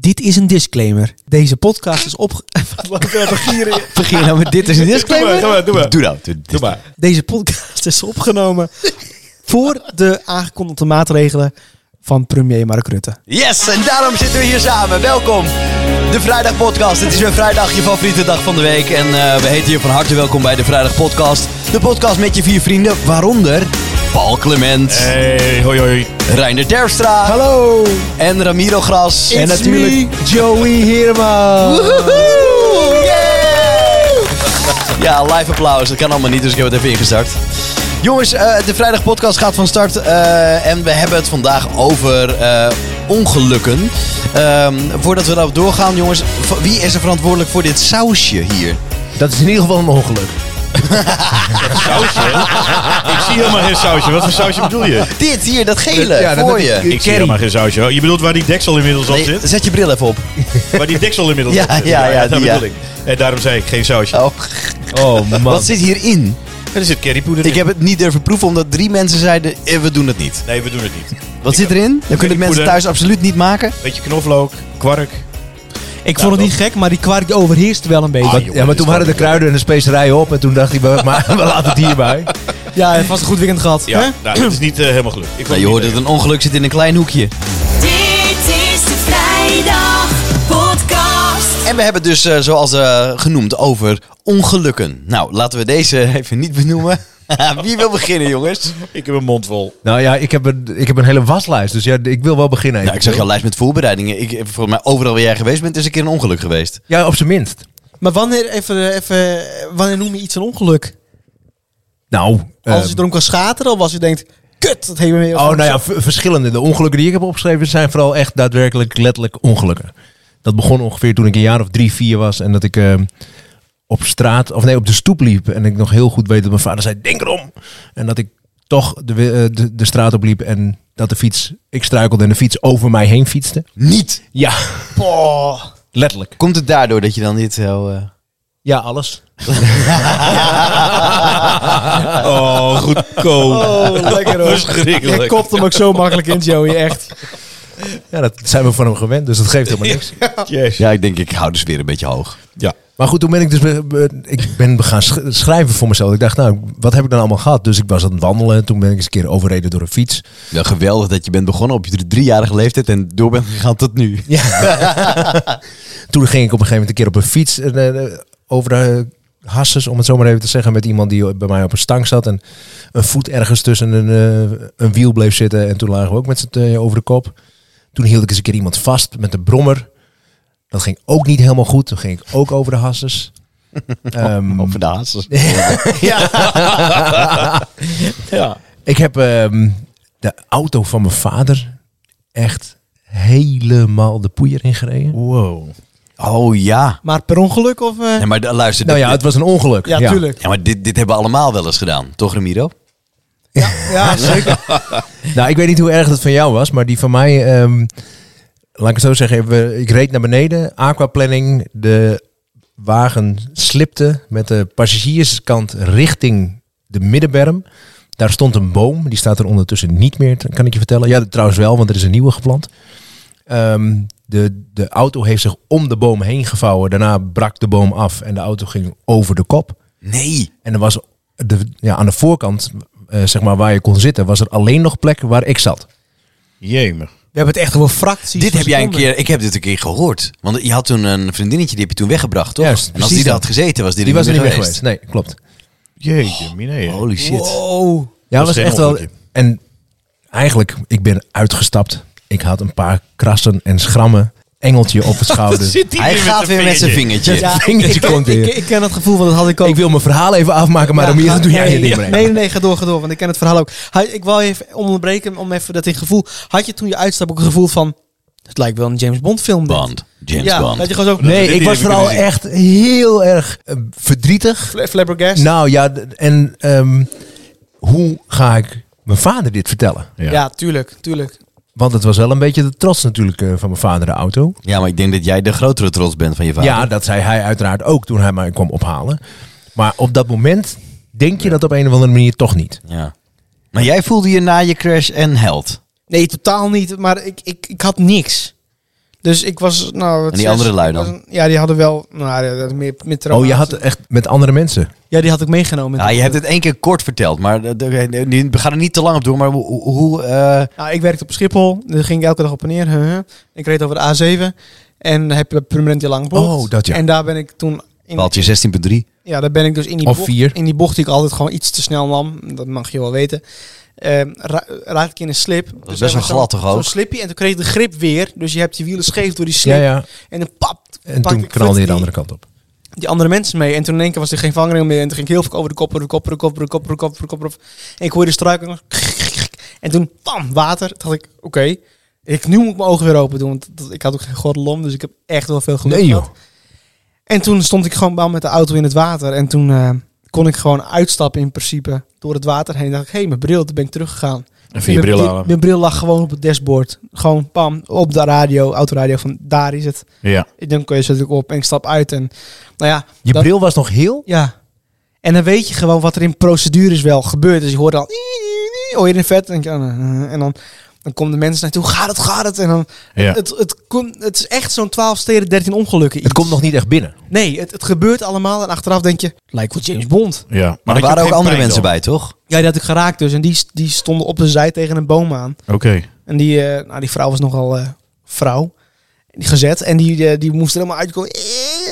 Dit is een disclaimer. Deze podcast is opge... Begin je nou met dit is een disclaimer? Doe maar, doe maar. Doe nou. Doe, Doe maar. Deze podcast is opgenomen voor de aangekondigde maatregelen van premier Mark Rutte. Yes, en daarom zitten we hier samen. Welkom. De Vrijdag Podcast. Het is weer vrijdag, je favoriete dag van de week. En eh, we heten je van harte welkom bij de Vrijdag Podcast. De podcast met je vier vrienden, waaronder Paul Clement, Hey, hoi hoi. Reiner Terpstra Hallo! en Ramiro Gras. en natuurlijk Joey Heerma. Woehoe! Ja, live applaus. Dat kan allemaal niet, dus ik heb het even ingestart. Jongens, eh, de Vrijdag Podcast gaat van start. eh, en we hebben het vandaag over eh, ongelukken. Ehm, voordat we daarop doorgaan, jongens, v- wie is er verantwoordelijk voor dit sausje hier? Dat is in ieder geval een ongeluk. Sausje? ik zie helemaal geen sausje. Wat voor sausje bedoel je? Dit hier, dat gele, Dat- ja, dat- voor dat- je. Ik zie helemaal geen sausje. hoor. Je bedoelt waar die deksel inmiddels op Nee, zit? zet je bril even op. Waar die deksel inmiddels Ja, op zit? ja, ja, dat die, bedoel ik. ja. En daarom zei ik geen sausje. Oh, Oh man. wat zit hierin? Er zit currypoeder in. Ik heb het niet durven proeven, omdat drie mensen zeiden, eh, we doen het niet. Nee, we doen het niet. Wat zit erin? Dan kunnen de mensen Currypoeder. thuis absoluut niet maken. Beetje knoflook, kwark. Ik vond het niet gek, maar die kwark overheerst wel een beetje. Ah, joh. ja, maar toen waren de kruiden en de specerijen op. En toen dacht ik, we, maar, we laten het hierbij. Ja, hij heeft vast een goed weekend gehad. Ja, hè? nou, het is niet eh, helemaal gelukt. Ik vond het Nou, niet je hoort het, lekker. een ongeluk zit in een klein hoekje. Dit is de Vrijdag Podcast. En we hebben het dus, eh, zoals eh, genoemd, over ongelukken. Nou, laten we deze even niet benoemen. Wie wil beginnen, jongens? Ik heb een mond vol. Nou ja, ik heb een, ik heb een hele waslijst. Dus ja, ik wil wel beginnen. Nou, ik zag jouw lijst met voorbereidingen. Ik, eh, volgens mij overal waar jij geweest bent, is een keer een ongeluk geweest. Ja, op zijn minst. Maar wanneer, even, even, wanneer noem je iets een ongeluk? Nou. Als ehm, je erom kan schateren of als je denkt... Kut, dat hebben we weer... Oh, nou ja, v- verschillende. De ongelukken die ik heb opgeschreven zijn vooral echt daadwerkelijk letterlijk ongelukken. Dat begon ongeveer toen ik een jaar of drie, vier was en dat ik eh, op straat, of nee, op de stoep liep. En ik nog heel goed weet dat mijn vader zei, denk erom. En dat ik toch de, wi- eh, de, de straat op liep en dat de fiets, ik struikelde en de fiets over mij heen fietste. Niet! Ja, letterlijk. Komt het daardoor dat je dan niet zo... eh, Ja, alles. Oh, goedkoop. Oh, lekker hoor. Verschrikkelijk. Je kopt hem ook zo makkelijk in, Joey, echt. Ja, dat zijn we van hem gewend, dus dat geeft helemaal niks. Jezus. Ja, ik denk, ik hou dus weer een beetje hoog. Ja. Maar goed, toen ben ik dus be- be- ik ben gaan sch- schrijven voor mezelf. Ik dacht, nou, wat heb ik dan allemaal gehad? Dus ik was aan het wandelen. Toen ben ik eens een keer overreden door een fiets. Ja, geweldig dat je bent begonnen op je drie- driejarige leeftijd en door bent gegaan tot nu. Toen ging ik op een gegeven moment een keer op een fiets eh, eh, over de eh, hasses, om het zo maar even te zeggen, met iemand die bij mij op een stang zat. En een voet ergens tussen een, eh, een wiel bleef zitten. En toen lagen we ook met z'n tweeën over de kop. Toen hield ik eens een keer iemand vast met een brommer. Dat ging ook niet helemaal goed. Toen ging ik ook over de hasses. Ehm, Op de haas. Ik heb ehm, de auto van mijn vader echt helemaal de poeier ingereden. Nou Wow. Oh ja. Maar per ongeluk of... eh? Nee, maar da- luister, Nou dit- ja, het was een ongeluk. Ja, tuurlijk. ja, maar dit, dit hebben we allemaal wel eens gedaan. Toch, Ramiro? Ja, zeker. Nou, ik weet niet hoe erg dat van jou was, maar die van mij, ehm, laat ik het zo zeggen, we- ik reed naar beneden, aquaplanning, de wagen slipte met de passagierskant richting de middenberm. Daar stond een boom, die staat er ondertussen niet meer, kan ik je vertellen. Ja, trouwens wel, want er is een nieuwe geplant. Ehm, de, de auto heeft zich om de boom heen gevouwen, daarna brak de boom af en de auto ging over de kop. Nee. En er was de, ja, aan de voorkant, eh, zeg maar waar je kon zitten, was er alleen nog plek waar ik zat. Jemig. We hebben het echt over fracties. Dit van heb jij een seconden. keer, ik heb dit een keer gehoord. Want je had toen een vriendinnetje, die heb je toen weggebracht, toch? Juist, en als precies die er dat. had gezeten, was die, Die was er niet meer meer geweest. Nee, klopt. Jeetje, mine. Oh, Holy shit. Wow. Ja, Dat was is echt geen wel. ongelukje. En eigenlijk, ik ben uitgestapt. Ik had een paar krassen en schrammen. Engeltje op het schouder. Hij gaat weer met zijn vingertje. Ja, ik, vingertje ik- komt ik- weer. ik, ik ken dat gevoel, want dat had ik ook. ik wil mijn verhaal even afmaken, maar Ja, dan ga- doe jij nee, je ding Nee, mee. nee, nee, ga door, ga door, want ik ken het verhaal ook. Hij- Ik wil even onderbreken om even dat in gevoel... Had je toen je uitstap ook een gevoel van... Het lijkt wel een James Bond film. dit. Bond. James ja, Bond. dat je gewoon zo... Nee, Dit ik heb was ik vooral kunnen zien. echt heel erg eh, verdrietig. Fla- flabbergast. Nou ja, d- en ehm, hoe ga ik mijn vader dit vertellen? ja. tuurlijk, tuurlijk. Want het was wel een beetje de trots natuurlijk eh, van mijn vader, de auto. Ja, maar ik denk dat jij de grotere trots bent van je vader. Ja, dat zei hij uiteraard ook toen hij mij kwam ophalen. Maar op dat moment denk je dat op een of andere manier toch niet. Ja. Maar jij voelde je na je crash en held. Nee, totaal niet, maar ik, ik, ik had niks. Dus ik was, nou... wat En die zes- andere lui ik was dan? een- Ja, die hadden wel, nou, ja, dat meer, meer Oh, je trauma's. had echt met andere mensen. Ja, die had ik meegenomen. Ja, je hebt het één keer kort verteld, maar de- de- de- nu- we gaan er niet te lang op doen. Maar hoe- hoe... hoe, eh, Nou, ik werkte op Schiphol, daar ging ik elke dag op en neer. huh, huh. Ik reed over de A7 en heb de permanent in Langbocht. Oh, dat ja. En daar ben ik toen... In, Paaltje 16.3. Ja, daar ben ik dus in die, Of bocht, vier. in die bocht die ik altijd gewoon iets te snel nam. Dat mag je wel weten. Ehm ra- raak ik in een slip. Dus Dat best wel glad, toch ook? Zo'n slipje en toen kreeg ik de grip weer. Dus je hebt je wielen scheef door die slip. Ja, ja. En dan pap. En pak toen ik knalde je de die- andere kant op. Die andere mensen mee. En toen in één keer was er geen vangrail meer. En toen ging ik heel veel over de kop, over de kop, over de kop, over de kop, over de kop, over de kop. over de kop. En ik hoorde de struik. en dan- En toen, pam, water. Toen dacht ik, oké. Ik, nu moet ik mijn ogen weer open doen. Want dat- ik had ook geen gordelom. Dus ik heb echt wel veel geluk Nee, joh. gehad. En toen stond ik gewoon wel met de auto in het water. En toen eh, kon ik gewoon uitstappen in principe door het water heen. En dacht ik, hé, hey, mijn bril. Toen ben ik teruggegaan. Even je Mijn- bril Mijn, halen. mijn bril lag gewoon op het dashboard. Gewoon, pam, op de radio, autoradio. Van daar is het. Ja. Ik denk, oké, zet ik op. En ik stap uit. En nou ja, Je dat- bril was nog heel? ja. En dan weet je gewoon wat er in procedures wel gebeurt. Dus je hoort al... Hoor je oh, in vet? En, dan, en dan, dan komen de mensen naartoe. Gaat het, gaat het? En dan... ja. Het, het, komt het is echt zo'n 12 steden, 13 ongelukken. Het iets. komt nog niet echt binnen. Nee, het, het gebeurt allemaal. En achteraf denk je... Lijkt wel James Bond. ja. Maar, Maar had je er waren ook geen andere pijn mensen dan? bij, toch? Ja, die had ik geraakt dus. En die, die stonden op de zij tegen een boom aan. Oké. En die, eh, nou, die vrouw was nogal eh, vrouw. Die gezet. En die, eh, die moest er helemaal uitkomen. Eh,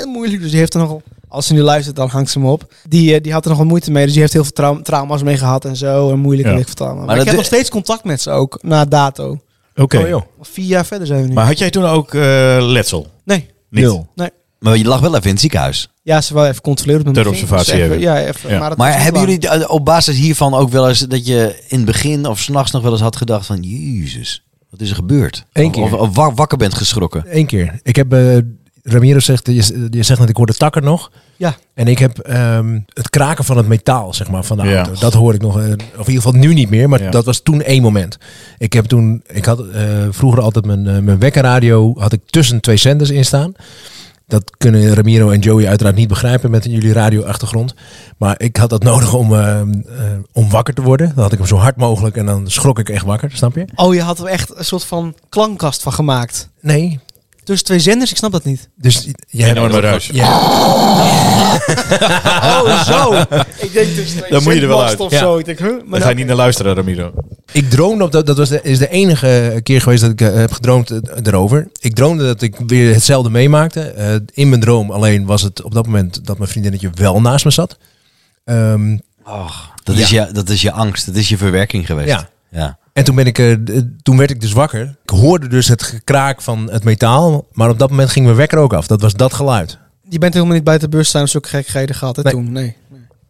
moeilijk. Dus die heeft er nogal... Als ze nu luistert, dan hangt ze hem op. Die, eh, die had er nogal moeite mee. Dus die heeft heel veel trau- trauma's mee gehad en zo. En moeilijk. Ja. En ik vertel maar, ik dat heb de- nog steeds contact met ze ook. Na dato. Oké. Oh, joh. Vier jaar verder zijn we nu. Maar had jij toen ook eh, letsel? nee. Niet. Nul. Maar je lag wel even in het ziekenhuis. Ja, ze wel even controleren. met Ter mijn vingers. observatie Even- even. Ja, even. Ja. Maar, dat was Maar niet hebben lang. jullie eh, op basis hiervan ook wel eens dat je in het begin of s'nachts nog wel eens had gedacht van... Jezus, wat is er gebeurd? Eén Of- keer. Of, of wa- wakker bent geschrokken. Eén keer. Ik heb, eh, Ramiro zegt, je, je zegt net, ik hoor de takker nog. Ja. En ik heb ehm, het kraken van het metaal, zeg maar, van de Ja. auto. Dat hoor ik nog, eh, of in ieder geval nu niet meer, maar Ja. dat was toen één moment. Ik heb toen, ik had eh, vroeger altijd mijn, eh, mijn wekkerradio, had ik tussen twee zenders in staan. Dat kunnen Ramiro en Joey uiteraard niet begrijpen met jullie radioachtergrond. Maar ik had dat nodig om, eh, eh, om wakker te worden. Dan had ik hem zo hard mogelijk en dan schrok ik echt wakker, snap je? Oh, je had er echt een soort van klankkast van gemaakt. Nee. Tussen twee zenders, ik snap dat niet. Dus jij En dan maar thuis. Ja, Oh, zo. ik denk dus twee Dan moet je er wel zendmasten uit. Of Ja. zo. Ik denk, huh? Maar Daar ga je niet naar luisteren, Ramiro. ik droomde op dat. Dat was de, is de enige keer geweest dat ik eh, heb gedroomd eh, erover. Ik droomde dat ik weer hetzelfde meemaakte. Eh, in mijn droom alleen was het op dat moment dat mijn vriendinnetje wel naast me zat. Ehm, Dat, is je, dat is je angst, dat is je verwerking geweest. Ja. ja. en toen, ben ik, eh, d- toen werd ik dus wakker. Ik hoorde dus het gekraak van het metaal. Maar op dat moment ging mijn wekker ook af. Dat was dat geluid. Je bent helemaal niet buiten de bus staan, zulke gekkigheden gehad hè, Nee. toen. Nee.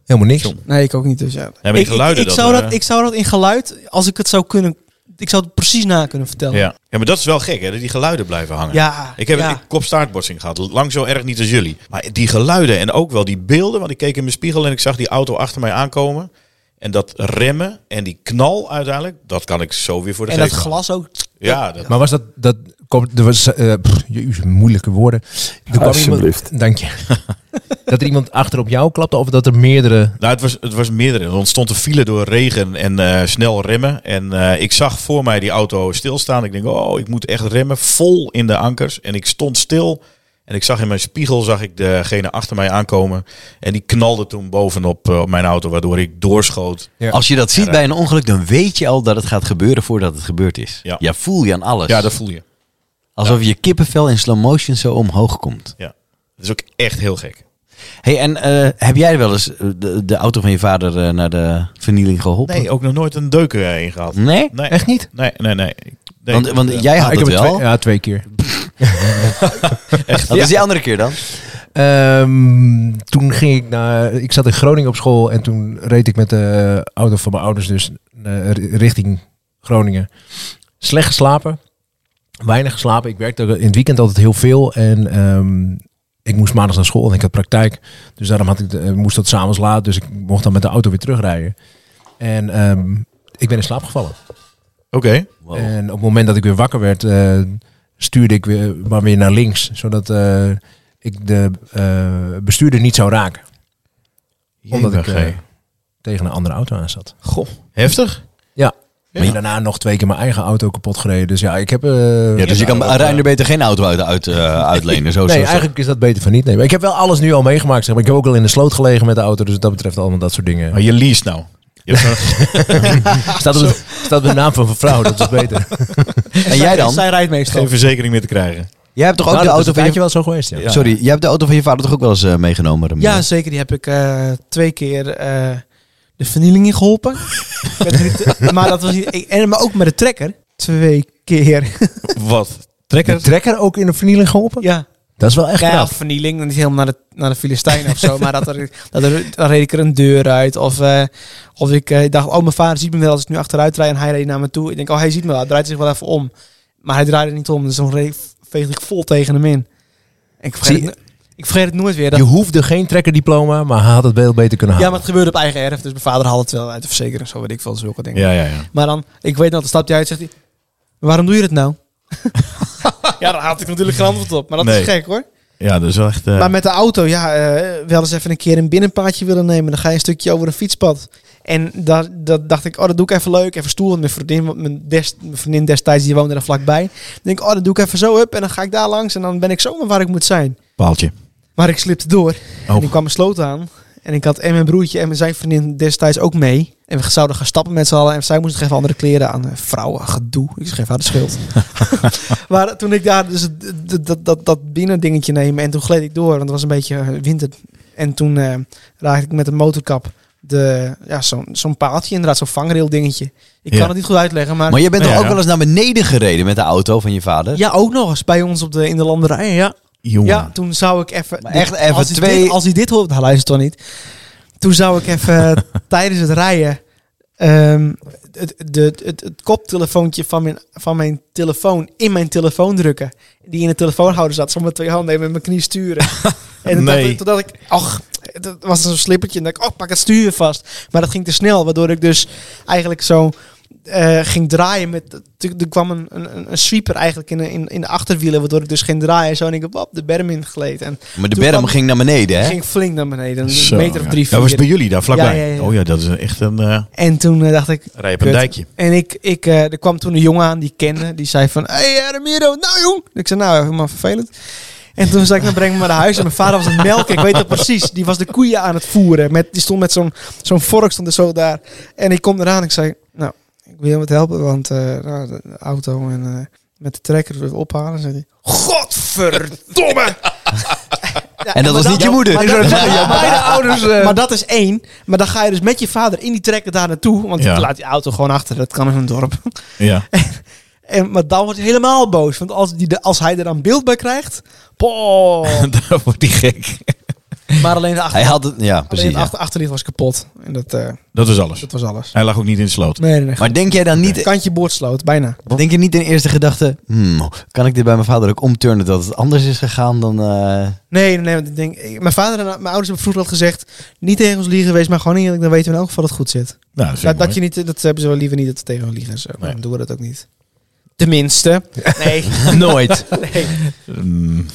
Helemaal niks. nee, ik ook niet. Dus ja. maar ik, die ik- geluiden ik, dan, zou dat, eh. ik zou dat in geluid, als ik het zou kunnen, ik zou het precies na kunnen vertellen. Ja. ja, maar dat is wel gek, hè? Dat die geluiden blijven hangen. Ja, Ik heb ja. een kopstaartbotsing gehad. Lang zo erg niet als jullie. Maar die geluiden en ook wel die beelden. Want ik keek in mijn spiegel en ik zag die auto achter mij aankomen. En dat remmen en die knal uiteindelijk. Dat kan ik zo weer voor de En dat geest glas ook. halen. Ja, dat, Maar was dat... dat komt- er was, eh, pff, jezus, moeilijke woorden. Er kwam Alsjeblieft. Iemand, dank je. dat er iemand achter op jou klapte of dat er meerdere... nou, het, was, het was meerdere. Er ontstond een file door regen en eh, snel remmen. En eh, ik zag voor mij die auto stilstaan. Ik denk, oh, ik moet echt remmen. Vol in de ankers. En ik stond stil. En ik zag in mijn spiegel, zag ik degene achter mij aankomen. En die knalde toen bovenop eh, op mijn auto, waardoor ik doorschoot. Ja. Als je dat ziet bij een ongeluk, dan weet je al dat het gaat gebeuren voordat het gebeurd is. Ja, Ja. voel je aan alles. Ja, dat voel je. Alsof je kippenvel in slow motion zo omhoog komt. Ja. Dat is ook echt heel gek. hey, en eh, heb jij wel eens eh, de, de auto van je vader eh, naar de vernieling geholpen? Nee, ook nog nooit een deuk erin gehad. Nee? Nee, Echt niet? nee, nee. nee. Nee. Want, want jij had Ah, ik het heb Ah, wel. Twee, ja, twee keer. Wat is die andere keer dan? Ehm, toen ging ik naar. Ik zat in Groningen op school en toen reed ik met de auto van mijn ouders, dus eh, ri- richting Groningen. Slecht geslapen, weinig geslapen. Ik werkte in het weekend altijd heel veel en ehm, ik moest maandags naar school en ik had praktijk. Dus daarom had ik de- eh, moest dat s'avonds laat, dus ik mocht dan met de auto weer terugrijden. En ehm, ik ben in slaap gevallen. Oké. Wow. En op het moment dat ik weer wakker werd, eh, stuurde ik weer, maar weer naar links. Zodat eh, ik de eh, bestuurder niet zou raken. Omdat ik Jemig, eh, hé. tegen een andere auto aan zat. Goh. Heftig? Ja. Maar daarna nog twee keer mijn eigen auto kapot gereden. Dus ja, ik heb... eh, Ja, dus je kan aan Reiner beter geen auto uit, uit, eh, uitlenen. Zo, zo, Nee, zo. eigenlijk is dat beter van niet. Nee, maar ik heb wel alles nu al meegemaakt. Zeg maar. Ik heb ook al in de sloot gelegen met de auto. Dus wat dat betreft allemaal dat soort dingen. Maar je lease nou. Je hebt een- Staat op, de, staat op de naam van mijn vrouw. Dat is beter. En jij dan? Zij rijdt meestal. geen verzekering meer te krijgen. Jij hebt toch ook Nou, de dat is auto van je... een tijdje wel zo geweest, ja. Sorry, jij hebt de auto van je vader toch ook wel eens eh, meegenomen? Ramiro? Ja, zeker. Die heb ik eh, twee keer eh, de vernieling in geholpen. Met de- maar dat was niet... ik- En, maar ook met de trekker. Twee keer. Wat? De trekker ook in de vernieling geholpen? ja. Dat is wel echt ja, knap. of vernieling. Dan niet helemaal naar de, naar de Filistijnen of zo. Maar dat er, dat er, dan reed ik er een deur uit. Of, eh, of ik eh, dacht, oh, mijn vader ziet me wel als ik nu achteruit rijd. En hij reed naar me toe. Ik denk, oh, hij ziet me wel. Hij draait zich wel even om. Maar hij draaide niet om. Dus dan reed, veegde ik vol tegen hem in. En Ik vergeet, Zie- het, no- ik vergeet het nooit weer. Dat, Je hoefde geen trekkerdiploma, maar hij had het veel beter kunnen ja, halen. maar het gebeurde op eigen erf. Dus mijn vader had het wel uit de verzekering. en Zo weet ik veel, zulke dingen. Ja, ja, ja. Maar dan, ik weet nog, dan stapt hij uit en zegt hij... Waarom doe je dat nou? ja, daar had ik natuurlijk geen antwoord op. Maar dat Nee. is gek, hoor. Ja, dus wel echt... eh, Maar met de auto, ja, eh, wel eens even een keer een binnenpaadje willen nemen. Dan ga je een stukje over een fietspad. En dat, dat dacht ik, oh, dat doe ik even leuk, even stoer. Want mijn vriendin, want mijn, des, mijn vriendin destijds, die woonde er vlakbij. Dan denk ik, oh, dat doe ik even zo up. En dan ga ik daar langs en dan ben ik zomaar waar ik moet zijn. Paaltje. Maar ik slipte door. Oh. En ik kwam een sloot aan. En ik had en mijn broertje en zijn vriendin destijds ook mee. En we zouden gaan stappen met z'n allen. En zij moesten nog even andere kleren aan. Eh, Vrouwen, gedoe. Ik geef haar de schuld. maar toen ik daar dus het- dat, dat, dat, dat binnendingetje neem. En toen gleed ik door. Want het was een beetje eh, winter. En toen eh, raakte ik met een motorkap. De, ja, zo'n zo'n paaltje. Inderdaad, zo'n vangrail dingetje. Ik Ja. kan het niet goed uitleggen. Maar, Maar jij bent Ja, toch ook ja. wel eens naar beneden gereden met de auto van je vader? ja, ook nog eens bij ons op de, in de landerij. Ja. Jongen. Ja, toen zou ik even... Maar echt dit- even als hij twee- dit- als hij dit hoort, hij luistert toch niet. Toen zou ik even eh, tijdens het rijden... ehm, het, het, het, het koptelefoontje van mijn, van mijn telefoon in mijn telefoon drukken. Die in de telefoonhouder zat. Zo met twee handen en met mijn knie sturen. en toen dacht Nee. ik- toen dacht ik... Ach, dat was zo'n slippertje. En dacht ik, oh, pak het stuur vast. Maar dat ging te snel. Waardoor ik dus eigenlijk zo... eh, ging draaien met. Er er kwam een, een, een sweeper eigenlijk in, de- in, in de achterwielen, waardoor ik dus ging draaien. Zo en ik heb op de berm ingleed. En Maar de Toen berm kwam- ging naar beneden, hè? ging flink naar beneden. Een Zo, meter of ja. drie, vier. Dat was bij jullie daar vlakbij. Ja, ja, ja. Oh ja, dat is echt een eh En toen eh, dacht ik. rijp en kut. dijkje. En ik, ik, eh, er kwam toen een jongen aan die ik kende. Die zei van, hey eh, Ramiro, nou jong. Ik zei, nou, helemaal vervelend. En toen zei ik, dan breng me maar naar huis. En mijn vader was een melken, ik weet dat precies. Die was de koeien aan het voeren. Met, die stond met zo'n zo'n vork, stond er zo daar. En ik kom eraan, ik zei, nou, ik wil je wat helpen. Want eh, nou, de de auto en eh, met de trekker wil ik ophalen. Zei hij, godverdomme! Ja, En dat maar was niet je moeder. Maar dat, Ja, beide ouders... eh, maar dat is één. Maar dan ga je dus met je vader in die trekker daar naartoe. Want Ja. je laat die auto gewoon achter. Dat kan in een dorp. Ja. En, maar dan wordt hij helemaal boos. Want als, die, de- als hij er dan beeld bij krijgt... Boah. daar wordt die gek. maar alleen de, achter, Hij had het, ja, alleen precies. de ja. achter, achterlicht was kapot. En dat, eh, Dat is alles. dat was alles. Hij lag ook niet in de sloot. Nee, nee, nee. Maar denk jij dan niet, Kantje boordsloot, bijna. denk je niet in eerste gedachte, hmm, kan ik dit bij mijn vader ook omturnen dat het anders is gegaan dan... eh, Nee, nee, nee. Want ik denk, ik- mijn vader en mijn ouders hebben vroeger al gezegd... Niet tegen ons liegen, wees maar gewoon eerlijk. Dan weten we in elk geval dat het goed zit. Nou, dat is Dat, ook dat, mooi. je niet, dat hebben ze wel liever niet dat ze tegen ons liegen. Zo, Nee. Dan doen we dat ook niet. Tenminste. Nee. Nooit. nee. Mm,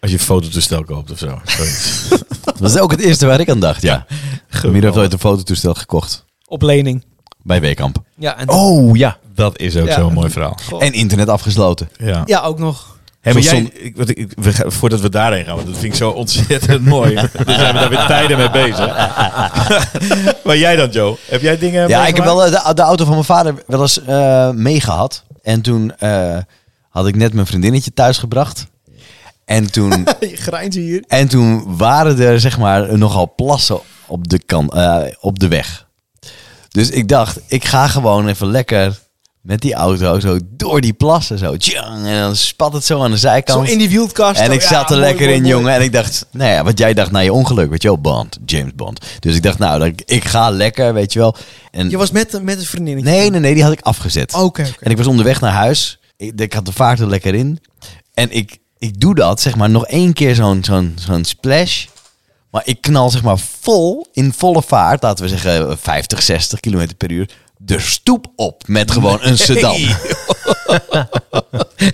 als je een fototoestel koopt of zo. Zoiets. Dat is ook het eerste waar ik aan dacht, ja. Miro heeft ooit een fototoestel gekocht Op lening. bij Weekamp. Ja, en Oh, ja. Dat is ook Ja. zo'n mooi verhaal. Goh. En internet afgesloten. Ja. ja, ook nog. Hey, maar Zoals jij, som- ik, wat ik, we gaan- voordat we daarheen gaan, want dat vind ik zo ontzettend mooi. Daar zijn we daar weer tijden mee bezig. maar jij dan, Joe? Heb jij dingen Ja, ik meegemaakt? heb wel eh, de, de auto van mijn vader wel eens eh meegehad. En toen eh, had ik net mijn vriendinnetje thuisgebracht. En toen Je grijnt hier. En toen waren er zeg maar nogal plassen op de, kan, eh, op de weg. Dus ik dacht, ik ga gewoon even lekker met die auto zo door die plassen. Zo. Tjang, en dan spat het zo aan de Zo zijkant. in die wielkast. en ik Ja, zat er mooi, lekker mooi, in, mooi. jongen. En ik dacht, nou ja, wat jij dacht na je ongeluk, weet je wel, Bond, James Bond. Dus ik dacht, nou, ik, ik ga lekker, weet je wel. En Je was met, met een vriendinnetje. Nee, nee, nee, die had ik afgezet. Oh, Oké, oké. En ik was onderweg naar huis. Ik, ik had de vaart er lekker in. En ik, ik doe dat, zeg maar, nog één keer zo'n zo'n zo'n splash. Maar ik knal, zeg maar, vol, in volle vaart, laten we zeggen 50, 60 kilometer per uur, de stoep op met gewoon een sedan.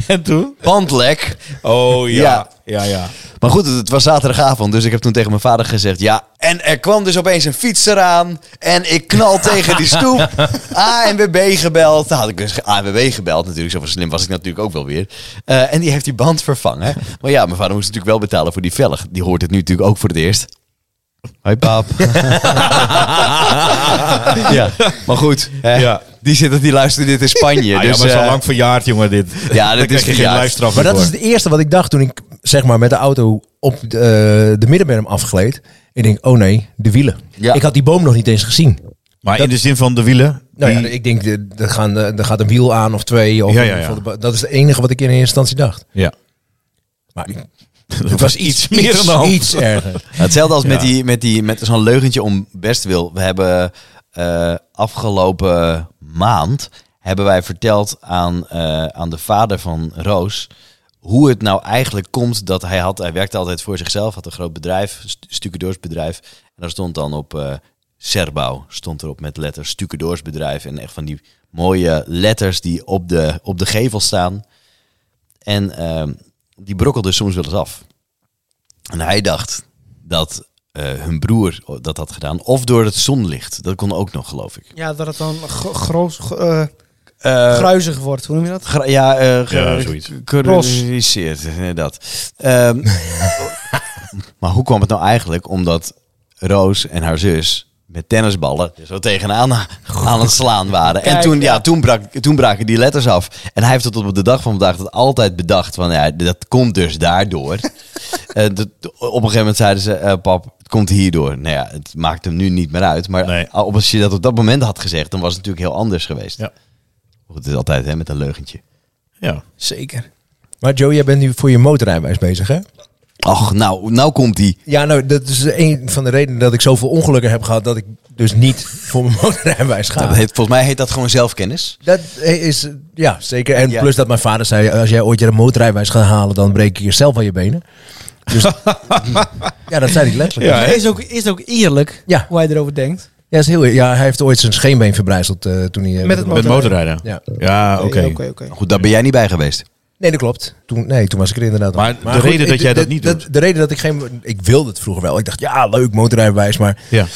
En toen? Bandlek. Oh ja. Ja. ja. ja, Maar Maar goed, het, het was zaterdagavond, dus ik heb toen tegen mijn vader gezegd... Ja, en er kwam dus opeens een fiets eraan en ik knal tegen die stoep. ANWB gebeld. Nou, had ik dus ANWB gebeld natuurlijk, zo slim was ik natuurlijk ook wel weer. Eh, en die heeft die band vervangen. Maar ja, mijn vader moest natuurlijk wel betalen voor die velg. Die hoort het nu natuurlijk ook voor het eerst. Hoi pap. ja, maar goed. Hè, Ja. Die zitten, die luisteren dit in Spanje. Ah, dus, ja, maar het is al eh, lang verjaard, jongen, dit. Ja, dit Daar is krijg je geen verjaard. luisteraf Maar dat voor. is het eerste wat ik dacht toen ik zeg maar, met de auto op de, eh, de middenberm afgleed. Ik denk, oh nee, de wielen. Ja. Ik had die boom nog niet eens gezien. Maar in de zin van de wielen. Nou ja, die- ik denk, er- er gaan, eh, er gaat een wiel aan of twee. Of Ja, ja, ja. Dat is het enige wat ik in eerste instantie dacht. ja. Maar ik- Het was iets meer dan de hoop. Iets erger. Nou, Hetzelfde als met, Ja. die, met, die, met zo'n leugentje om best wil. We hebben eh, afgelopen maand hebben wij verteld aan, eh, aan de vader van Roos hoe het nou eigenlijk komt dat hij had, hij werkte altijd voor zichzelf, had een groot bedrijf, st- stucadoorsbedrijf. En daar stond dan op eh Serbouw, stond erop met letters stucadoorsbedrijf en echt van die mooie letters die op de, op de gevel staan. En ehm, die brokkelde soms wel eens af. En hij dacht dat eh, hun broer dat had gedaan. Of door het zonlicht. Dat kon ook nog, geloof ik. Ja, dat het dan gro- groos, gro- eh, Eh, gruizig wordt. Hoe noem je dat? gra- ja, eh Ja, ge- zoiets. gecorreliseerd, inderdaad. Ehm, maar hoe kwam het nou eigenlijk? Omdat Roos en haar zus met tennisballen er zo tegenaan aan het slaan waren. en Kijk, toen, ja, ja. toen, brak, toen braken die letters af. En hij heeft het tot op de dag van vandaag dat altijd bedacht. Van, ja, dat komt dus daardoor. Eh, dat- op een gegeven moment zeiden ze, eh, pap, het komt hierdoor. Nou ja, het maakt hem nu niet meer uit. Maar Nee. op- als je dat op dat moment had gezegd, dan was het natuurlijk heel anders geweest. Ja. Goed, het is altijd hè, met een leugentje. Ja. Zeker. Maar Joe, jij bent nu voor je motorrijbewijs bezig, hè? Ach, nou, nou komt die. Ja, nou, dat is een van de redenen dat ik zoveel ongelukken heb gehad... dat ik dus niet voor mijn motorrijbewijs ga. Dat heet, volgens mij heet dat gewoon zelfkennis. Dat is, eh, ja, zeker. En Ja. plus dat mijn vader zei, als jij ooit je motorrijbewijs gaat halen, dan breek je jezelf aan je benen. Dus, ja, dat zei hij letterlijk. Ja, Ja, hè? is, ook, is ook eerlijk Ja. hoe hij erover denkt. is heel, ja hij heeft ooit zijn scheenbeen verbrijzeld eh, toen hij... eh, Met het Met motorrijden. Ja. Ja, oké. oké oké. Goed, daar ben jij niet bij geweest. Nee, dat klopt. Toen, nee, toen was ik er inderdaad Maar al. de reden dat ik- jij de- dat niet de, doet. De reden dat ik geen... Ik wilde het vroeger wel. Ik dacht, ja, leuk, motorrijbewijs. Maar Ja.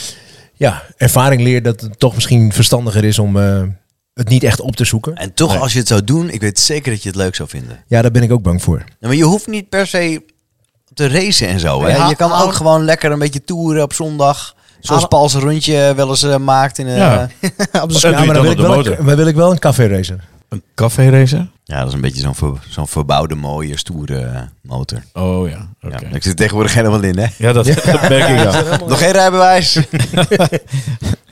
ja, ervaring leert dat het toch misschien verstandiger is om eh, het niet echt op te zoeken. En toch, als je het zou doen, ik weet zeker dat je het leuk zou vinden. Ja, daar ben ik ook bang voor. Ja, maar je hoeft niet per se te racen en zo. Hè? Ja, je kan hou- ook gewoon lekker een beetje toeren op zondag. Zoals Hou- Paul's rondje wel eens eh, maakt. In, eh, Ja. Op En doe je dan wil op ik, de wel motor. Een, maar wil ik wel een café racer. Een café racer? ja, dat is een beetje zo'n ver- zo'n verbouwde, mooie, stoere eh, motor. Oh ja, oké. Ja, ik zit er tegenwoordig helemaal in, hè? Ja, dat, dat merk ik wel. Nog geen rijbewijs.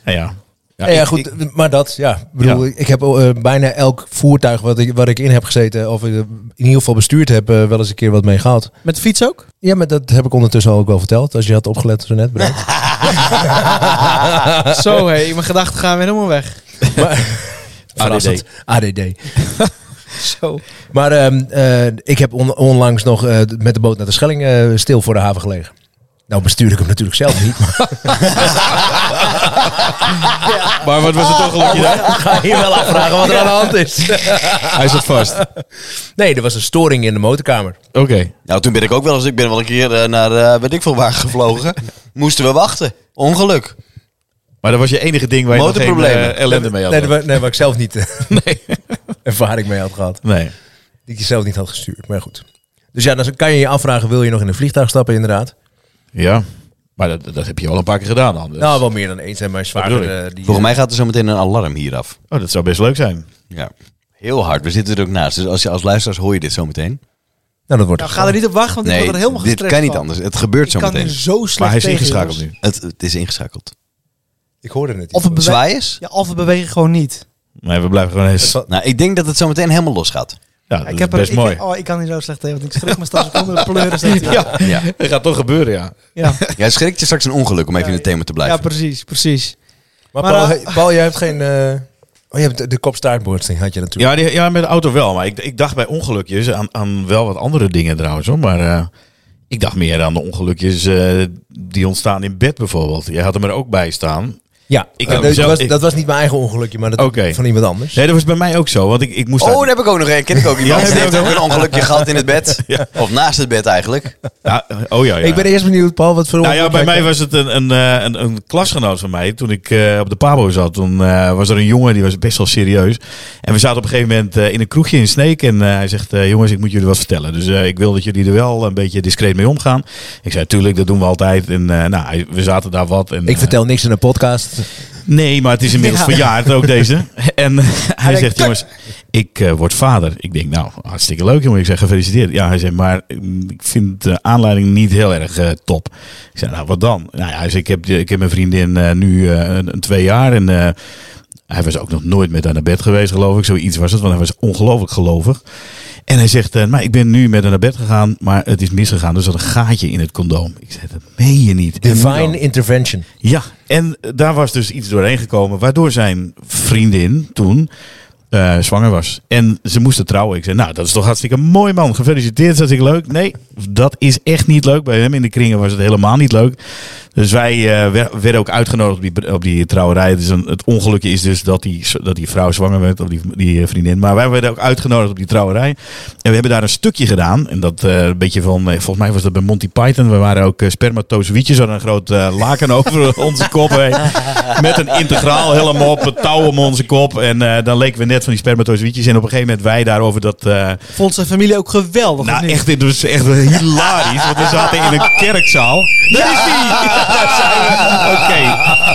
Ja, ja. Ja, ja, goed, maar dat, ja. Nou, Ik bedoel, Ja. ik heb eh, bijna elk voertuig wat ik, wat ik in heb gezeten, of eh, in ieder geval bestuurd heb, eh, wel eens een keer wat mee gehad. Met de fiets ook? Ja, maar dat heb ik ondertussen al ook wel verteld, als je had opgelet zo net. Brent. Zo, hé, mijn gedachten gaan weer helemaal weg. Verrassend. ADD. Zo. Maar ehm, eh, ik heb on- onlangs nog eh, met de boot naar de Schelling eh, stil voor de haven gelegen. Nou bestuur ik hem natuurlijk zelf niet, maar Maar wat was het toch gelukje daar? ik ga hier wel afvragen wat er aan de hand is. Hij zat vast. Oké. Nee, er was een storing in de motorkamer. nou, toen ben ik ook wel eens... Ik ben wel een keer eh, naar eh weet ik veel waar gevlogen. Moesten we wachten. Ongeluk. Maar dat was je enige ding waar je nog geen Motorproblemen. eh, ellende mee had. Nee, waar, nee, waar ik zelf niet eh, Nee. ervaring mee had gehad. Nee. Die ik zelf niet had gestuurd, maar goed. Dus ja, dan kan je je afvragen, wil je nog in een vliegtuig stappen inderdaad? Ja. Maar dat, dat heb je al een paar keer gedaan dan. dus- Nou, wel meer dan eens. En mijn bedoel zwaarder, ik? eh, die... Volgens mij gaat er zo meteen een alarm hier af. Oh, dat zou best leuk zijn. Ja. Heel hard. We zitten er ook naast. Dus als, je, als luisteraars hoor je dit zo meteen. Nou, dat wordt Nou, ga er niet op wachten, want ik Nee, word er helemaal dit gestrest kan niet van. anders. Het gebeurt zo Ik kan meteen. er zo slecht Maar hij is tegen, ingeschakeld jongens. nu. Het, het is ingeschakeld. Ik hoorde het niet. Of het bewe- Zwaaiers? Ja, of we bewegen gewoon niet. Nee, we blijven gewoon eens. zal- Nou, ik denk dat het zo meteen helemaal los gaat. Ja, dat ik is heb oh, er- best ik- mooi. oh, ik kan niet zo slecht tegen, want ik schrik me straks onder de pleuren. zegt hij. Ja, ja. dat gaat toch gebeuren, ja. Ja. Jij schrikt je straks een ongeluk om even in het thema te ja, blijven. precies, precies. Maar, Maar, Paul, eh, hey, Paul, jij hebt geen... eh, Oh, je hebt de- de kopstaartborsting had je natuurlijk. Ja, die, ja, met de auto wel. Maar ik, ik dacht bij ongelukjes aan, aan wel wat andere dingen trouwens. Hoor. Maar eh, ik dacht meer aan de ongelukjes eh, die ontstaan in bed bijvoorbeeld. Jij had hem er ook bij staan. Ja, Ik eh, heb dat, zelf- was, ik- dat was niet mijn eigen ongelukje, maar dat Oké. van iemand anders. Nee, dat was bij mij ook zo. Want ik, ik moest Oh, uit- daar heb ik ook nog een. Ken ik ook iemand. heb Die je heeft ook ook een ongelukje gehad in het bed. Of naast het bed eigenlijk. Ja, oh ja, ja. Ik ben eerst benieuwd, Paul, wat voor Nou ja, bij ongeluk jij mij was het een, een, eh, een, een klasgenoot van mij. Toen ik eh, op de Pabo zat, toen eh, was er een jongen die was best wel serieus. En we zaten op een gegeven moment eh, in een kroegje in Sneek. En eh, hij zegt: eh, Jongens, ik moet jullie wat vertellen. Dus eh, ik wil dat jullie er wel een beetje discreet mee omgaan. Ik zei: Tuurlijk, dat doen we altijd. En eh, nou, hij- we zaten daar wat. En, Ik eh, vertel niks in een podcast. Nee, maar het is inmiddels Ja. verjaard ook deze. En eh, hij denkt, zegt, "Kut." jongens, ik eh, word vader. Ik denk, nou, hartstikke leuk jongen. Ik zeg, gefeliciteerd. Ja, hij zegt, maar mm, ik vind de aanleiding niet heel erg eh, top. Ik zeg, nou, wat dan? Nou ja, hij zegt, ik heb, ik heb mijn vriendin eh, nu eh, een, een twee jaar en... eh, hij was ook nog nooit met haar naar bed geweest, geloof ik. Zoiets was het, want hij was ongelooflijk gelovig. En hij zegt, eh, maar ik ben nu met haar naar bed gegaan, maar het is misgegaan. Dus er zat een gaatje in het condoom. Ik zeg, dat meen je niet. En nu dan? Divine intervention. Ja, en daar was dus iets doorheen gekomen, waardoor zijn vriendin toen eh, zwanger was. En ze moesten trouwen. Ik zei, nou, dat is toch hartstikke mooi man. Gefeliciteerd, dat is hartstikke leuk. Nee, dat is echt niet leuk. Bij hem in de kringen was het helemaal niet leuk. Dus wij eh, wer- werden ook uitgenodigd op die, op die trouwerij. Dus een, het ongelukje is dus dat die, dat die vrouw zwanger werd, of die, die eh, vriendin. Maar wij werden ook uitgenodigd op die trouwerij. En we hebben daar een stukje gedaan. En dat eh, een beetje van, eh, volgens mij was dat bij Monty Python. We waren ook eh, spermatozoïdjes, hadden een groot eh, laken over onze kop heen. Met een integraal helemaal op, een touw om onze kop. En eh, dan leken we net van die spermatozoïdjes. En op een gegeven moment wij daarover dat... eh, Vond zijn familie ook geweldig. of nou, niet? echt, dit was echt hilarisch. Want we zaten in een kerkzaal. Daar is die! Daar zijn we. Oké.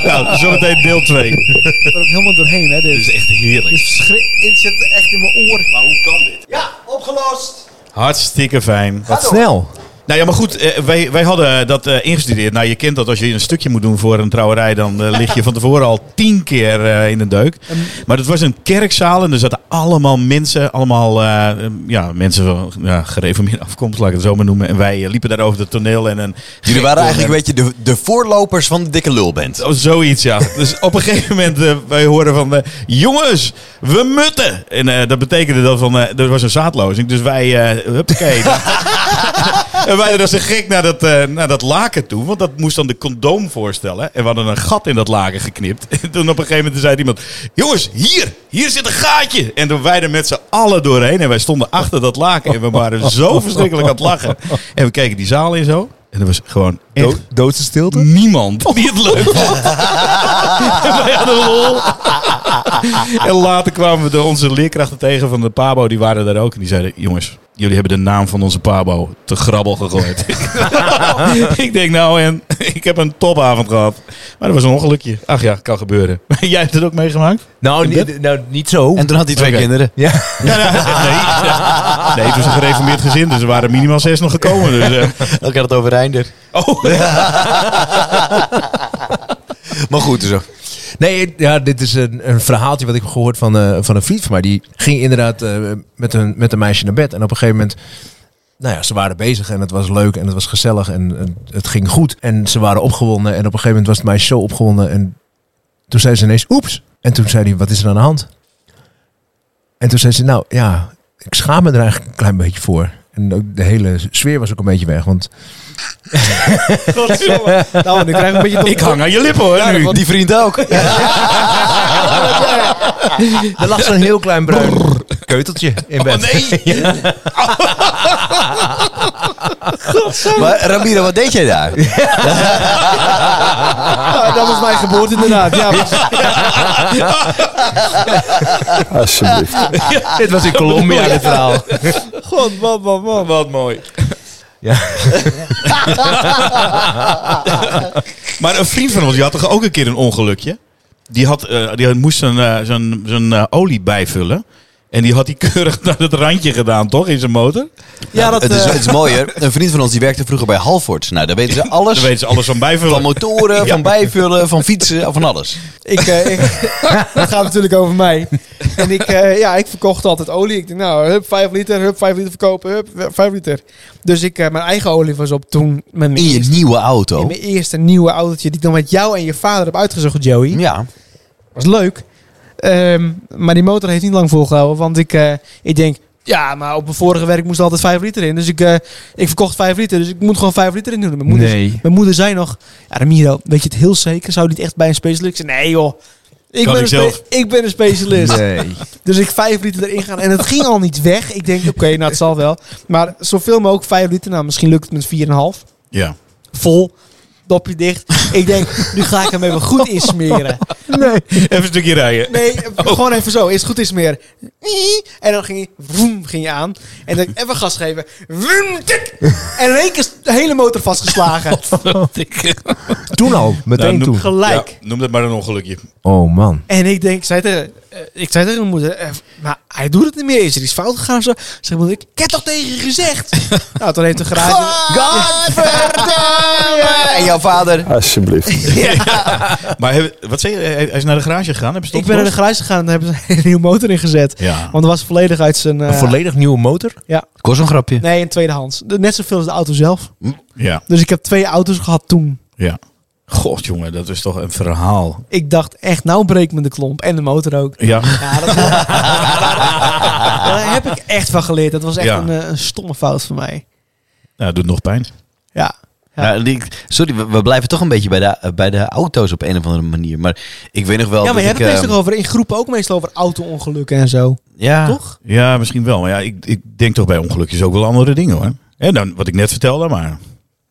Nou, zometeen deel 2. Dit Ik ben er ook helemaal doorheen, hè? Dit is echt heerlijk. is verschri- Het zit echt in mijn oor. Hartstikke fijn. Wat snel. Nou ja, maar goed, eh, wij, wij hadden dat eh, ingestudeerd. Nou, je kent dat als je een stukje moet doen voor een trouwerij, dan eh, lig je van tevoren al tien keer eh, in een deuk. Maar dat was een kerkzaal en er zaten allemaal mensen, allemaal eh, ja, mensen van ja, gereformeerde afkomst, laat ik het zo maar noemen. En wij eh, liepen daar over het toneel en een. Jullie waren gek- eigenlijk een beetje de, de voorlopers van de dikke lulband. Oh, zoiets, ja. Dus op een gegeven moment, eh, wij hoorden van... eh, jongens, we mutten! En eh, dat betekende dat van... eh er was een zaadlozing, dus wij... eh huppakee. en wij als een gek naar dat, eh, naar dat laken toe. Want dat moest dan de condoom voorstellen. En we hadden een gat in dat laken geknipt. En toen op een gegeven moment zei iemand... Jongens, hier! Hier zit een gaatje! En toen wij er met z'n allen doorheen. En wij stonden achter dat laken. En we waren zo verschrikkelijk aan het lachen. En we keken die zaal in zo. En er was gewoon echt doodse stilte? niemand die het leuk vond. En wij hadden lol. En later kwamen we de, onze leerkrachten tegen van de Pabo. Die waren daar ook. En die zeiden, jongens, jullie hebben de naam van onze Pabo te grabbel gegooid. ik denk, nou en, ik heb een topavond gehad. Maar dat was een ongelukje. Ach ja, kan gebeuren. Jij hebt het ook meegemaakt? Nou, niet, nou, niet zo. En toen had hij twee Oké. kinderen. ja. Ja, nou, nee, nee, het was een gereformeerd gezin. Dus er waren minimaal zes nog gekomen. Dus, eh, Elk had het over dus. Reinder. oh, Maar goed, zo. Nee, ja, dit is een, een verhaaltje wat ik heb gehoord van, eh, van een vriend van mij. Die ging inderdaad eh, met, een, met een meisje naar bed. En op een gegeven moment, nou ja, ze waren bezig en het was leuk en het was gezellig en, en het ging goed. En ze waren opgewonden en op een gegeven moment was het meisje zo opgewonden. En toen zei ze ineens, oeps. En toen zei hij, wat is er aan de hand? En toen zei ze, nou ja, ik schaam me er eigenlijk een klein beetje voor. En ook de hele sfeer was ook een beetje weg, want Godverdomme. Nou, nu krijg ik een beetje... ik hang aan je lippen hoor. nu. Die vriend ook. er lag zo'n heel klein bruin keuteltje in bed. Oh, nee! Maar Ramiro, wat deed jij daar? Ja, dat was mijn geboorte inderdaad. Ja, Alsjeblieft. Dit was in Colombia, dit verhaal. God, man, man, man. Wat mooi. Ja. maar een vriend van ons, die had toch ook een keer een ongelukje? Die, had, eh, die had- moest zijn, eh, zijn, zijn eh, olie bijvullen. En die had hij keurig naar het randje gedaan, toch? In zijn motor. Ja, dat... Het is, eh, het is mooier. Een vriend van ons die werkte vroeger bij Halfords. Nou, daar weten ze alles. Daar weten ze alles van Van bijvullen. motoren, van bijvullen, van fietsen, van alles. Ik, eh, ik, het gaat natuurlijk over mij. En ik, eh, ja, ik verkocht altijd olie. Ik dacht, nou, hup, 5 liter, hup, 5 liter verkopen, hup, 5 liter. Dus ik, eh, mijn eigen olie was op toen. Met mijn, In je eerste, nieuwe in auto. mijn eerste nieuwe autootje die ik dan met jou en je vader heb uitgezocht, Joey. Ja. was leuk. Ehm, maar die motor heeft niet lang volgehouden. Want ik, eh, ik denk, Ja, maar op mijn vorige werk moest er altijd 5 liter in. Dus ik, eh, ik verkocht 5 liter. Dus ik moet gewoon 5 liter in doen. Mijn moeder, Nee. mijn moeder zei nog: ja, Ramiro, weet je het heel zeker? Zou dit echt bij een specialist? Ik zei, nee joh. Ik Kan ben, ik een spe- zelf." ik ben een specialist. Nee. Dus ik vijf liter erin gaan. En het ging al niet weg. Ik denk, oké, nou het zal wel. Maar zoveel mogelijk vijf liter. Nou, misschien lukt het met 4,5. Ja. Vol. Dopje dicht. Ik denk, nu ga ik hem even goed insmeren. Even een stukje rijden. Nee, Oh. gewoon even zo. Eerst goed insmeren. En dan ging je, vroom, ging je aan. En dan even gas geven. Vroom, tik. En in één keer is de hele motor vastgeslagen. Toen al, Nou, meteen noem- toen. Gelijk. Ja, noem dat maar een ongelukje. Oh man. En ik denk, ik zei tegen, eh, ik zei tegen mijn moeder, eh, maar hij doet het niet meer. Is er iets fout gegaan of zo? Zeg maar, ik ik heb toch tegen je gezegd? nou, toen heeft de garage... Godverdomme! En jouw vader? Alsjeblieft. Maar heb- wat zei je? Hij hij is naar de garage gegaan. Hebben ze het Ik ben naar de garage gegaan en daar hebben ze een nieuwe motor in gezet. Ja. Want het was volledig uit zijn... eh, Een volledig nieuwe motor? Kost een grapje. Nee, een tweedehands. De- Net zoveel als de auto zelf. Ja. Dus ik heb twee auto's gehad toen. Ja. God, jongen, dat is toch een verhaal. Ik dacht echt, nou breekt me de klomp. En de motor ook. Ja. nou, Ja, dat Daar heb ik echt van geleerd. Dat was echt Ja. een, eh, een stomme fout van mij. Nou, doet nog pijn. Ja. Ja. Nou, die- sorry, we, we blijven toch een beetje bij de, eh, bij de auto's op een of andere manier. Maar ik weet nog wel ja, maar dat je hebt ik... het eh, ehm, meestal over, in groepen ook meestal over auto-ongelukken en zo. ja, Toch? Ja, misschien wel. Maar ja, ik, ik denk toch bij ongelukjes ook wel andere dingen hoor. En dan wat ik net vertelde, maar.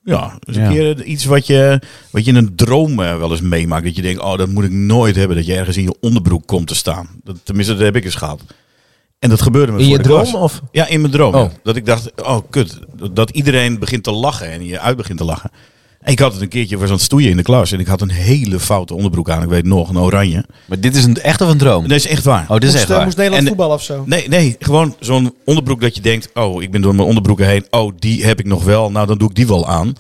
Ja, dus een Ja. keer eh, iets wat je, wat je in een droom eh, wel eens meemaakt. Dat je denkt, oh, dat moet ik nooit hebben. Dat je ergens in je onderbroek komt te staan. Dat, tenminste, dat heb ik eens gehad. En dat gebeurde me In voor je de droom klas. of? Ja, in mijn droom. Oh. ja. Dat ik dacht, oh kut, dat iedereen begint te lachen en je uit begint te lachen. En ik had het een keertje, ik was aan het stoeien in de klas en ik had een hele foute onderbroek aan. Ik weet nog, een oranje. maar dit is een, echt of een droom? Dat is echt waar. Oh, dit is moest, echt eh, waar. moest Nederland En- voetballen of zo. Nee, nee, gewoon zo'n onderbroek dat je denkt, oh, ik ben door mijn onderbroeken heen. Oh, die heb ik nog wel. Nou, dan doe ik die wel aan.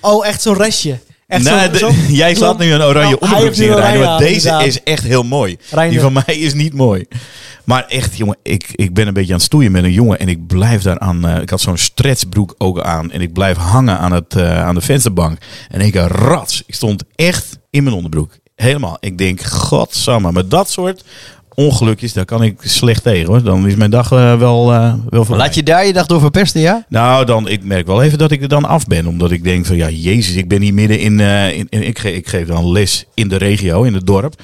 Oh, echt zo'n restje. Echt Nou, zo'n- de- zo'n- jij laat nu een oranje Nou, hij onderbroek heeft nu zien een rijden, oranje maar aan, deze inderdaad. is echt heel mooi. Reiner. Die van mij is niet mooi. Maar echt, jongen, ik, ik ben een beetje aan het stoeien met een jongen en ik blijf daaraan. eh ik had zo'n stretchbroek ook aan en ik blijf hangen aan, het, eh, aan de vensterbank. En ik eh, rats, ik stond echt in mijn onderbroek. Helemaal. Ik denk, godsamme, met dat soort ongelukjes, daar kan ik slecht tegen hoor. Dan is mijn dag eh, wel, eh wel Maar voorbij. laat je daar je dag door verpesten, ja? Nou, dan, ik merk wel even dat ik er dan af ben. Omdat ik denk van, ja, jezus, ik ben hier midden in... eh, in, in- ik, ge- ik geef dan les in de regio, in het dorp.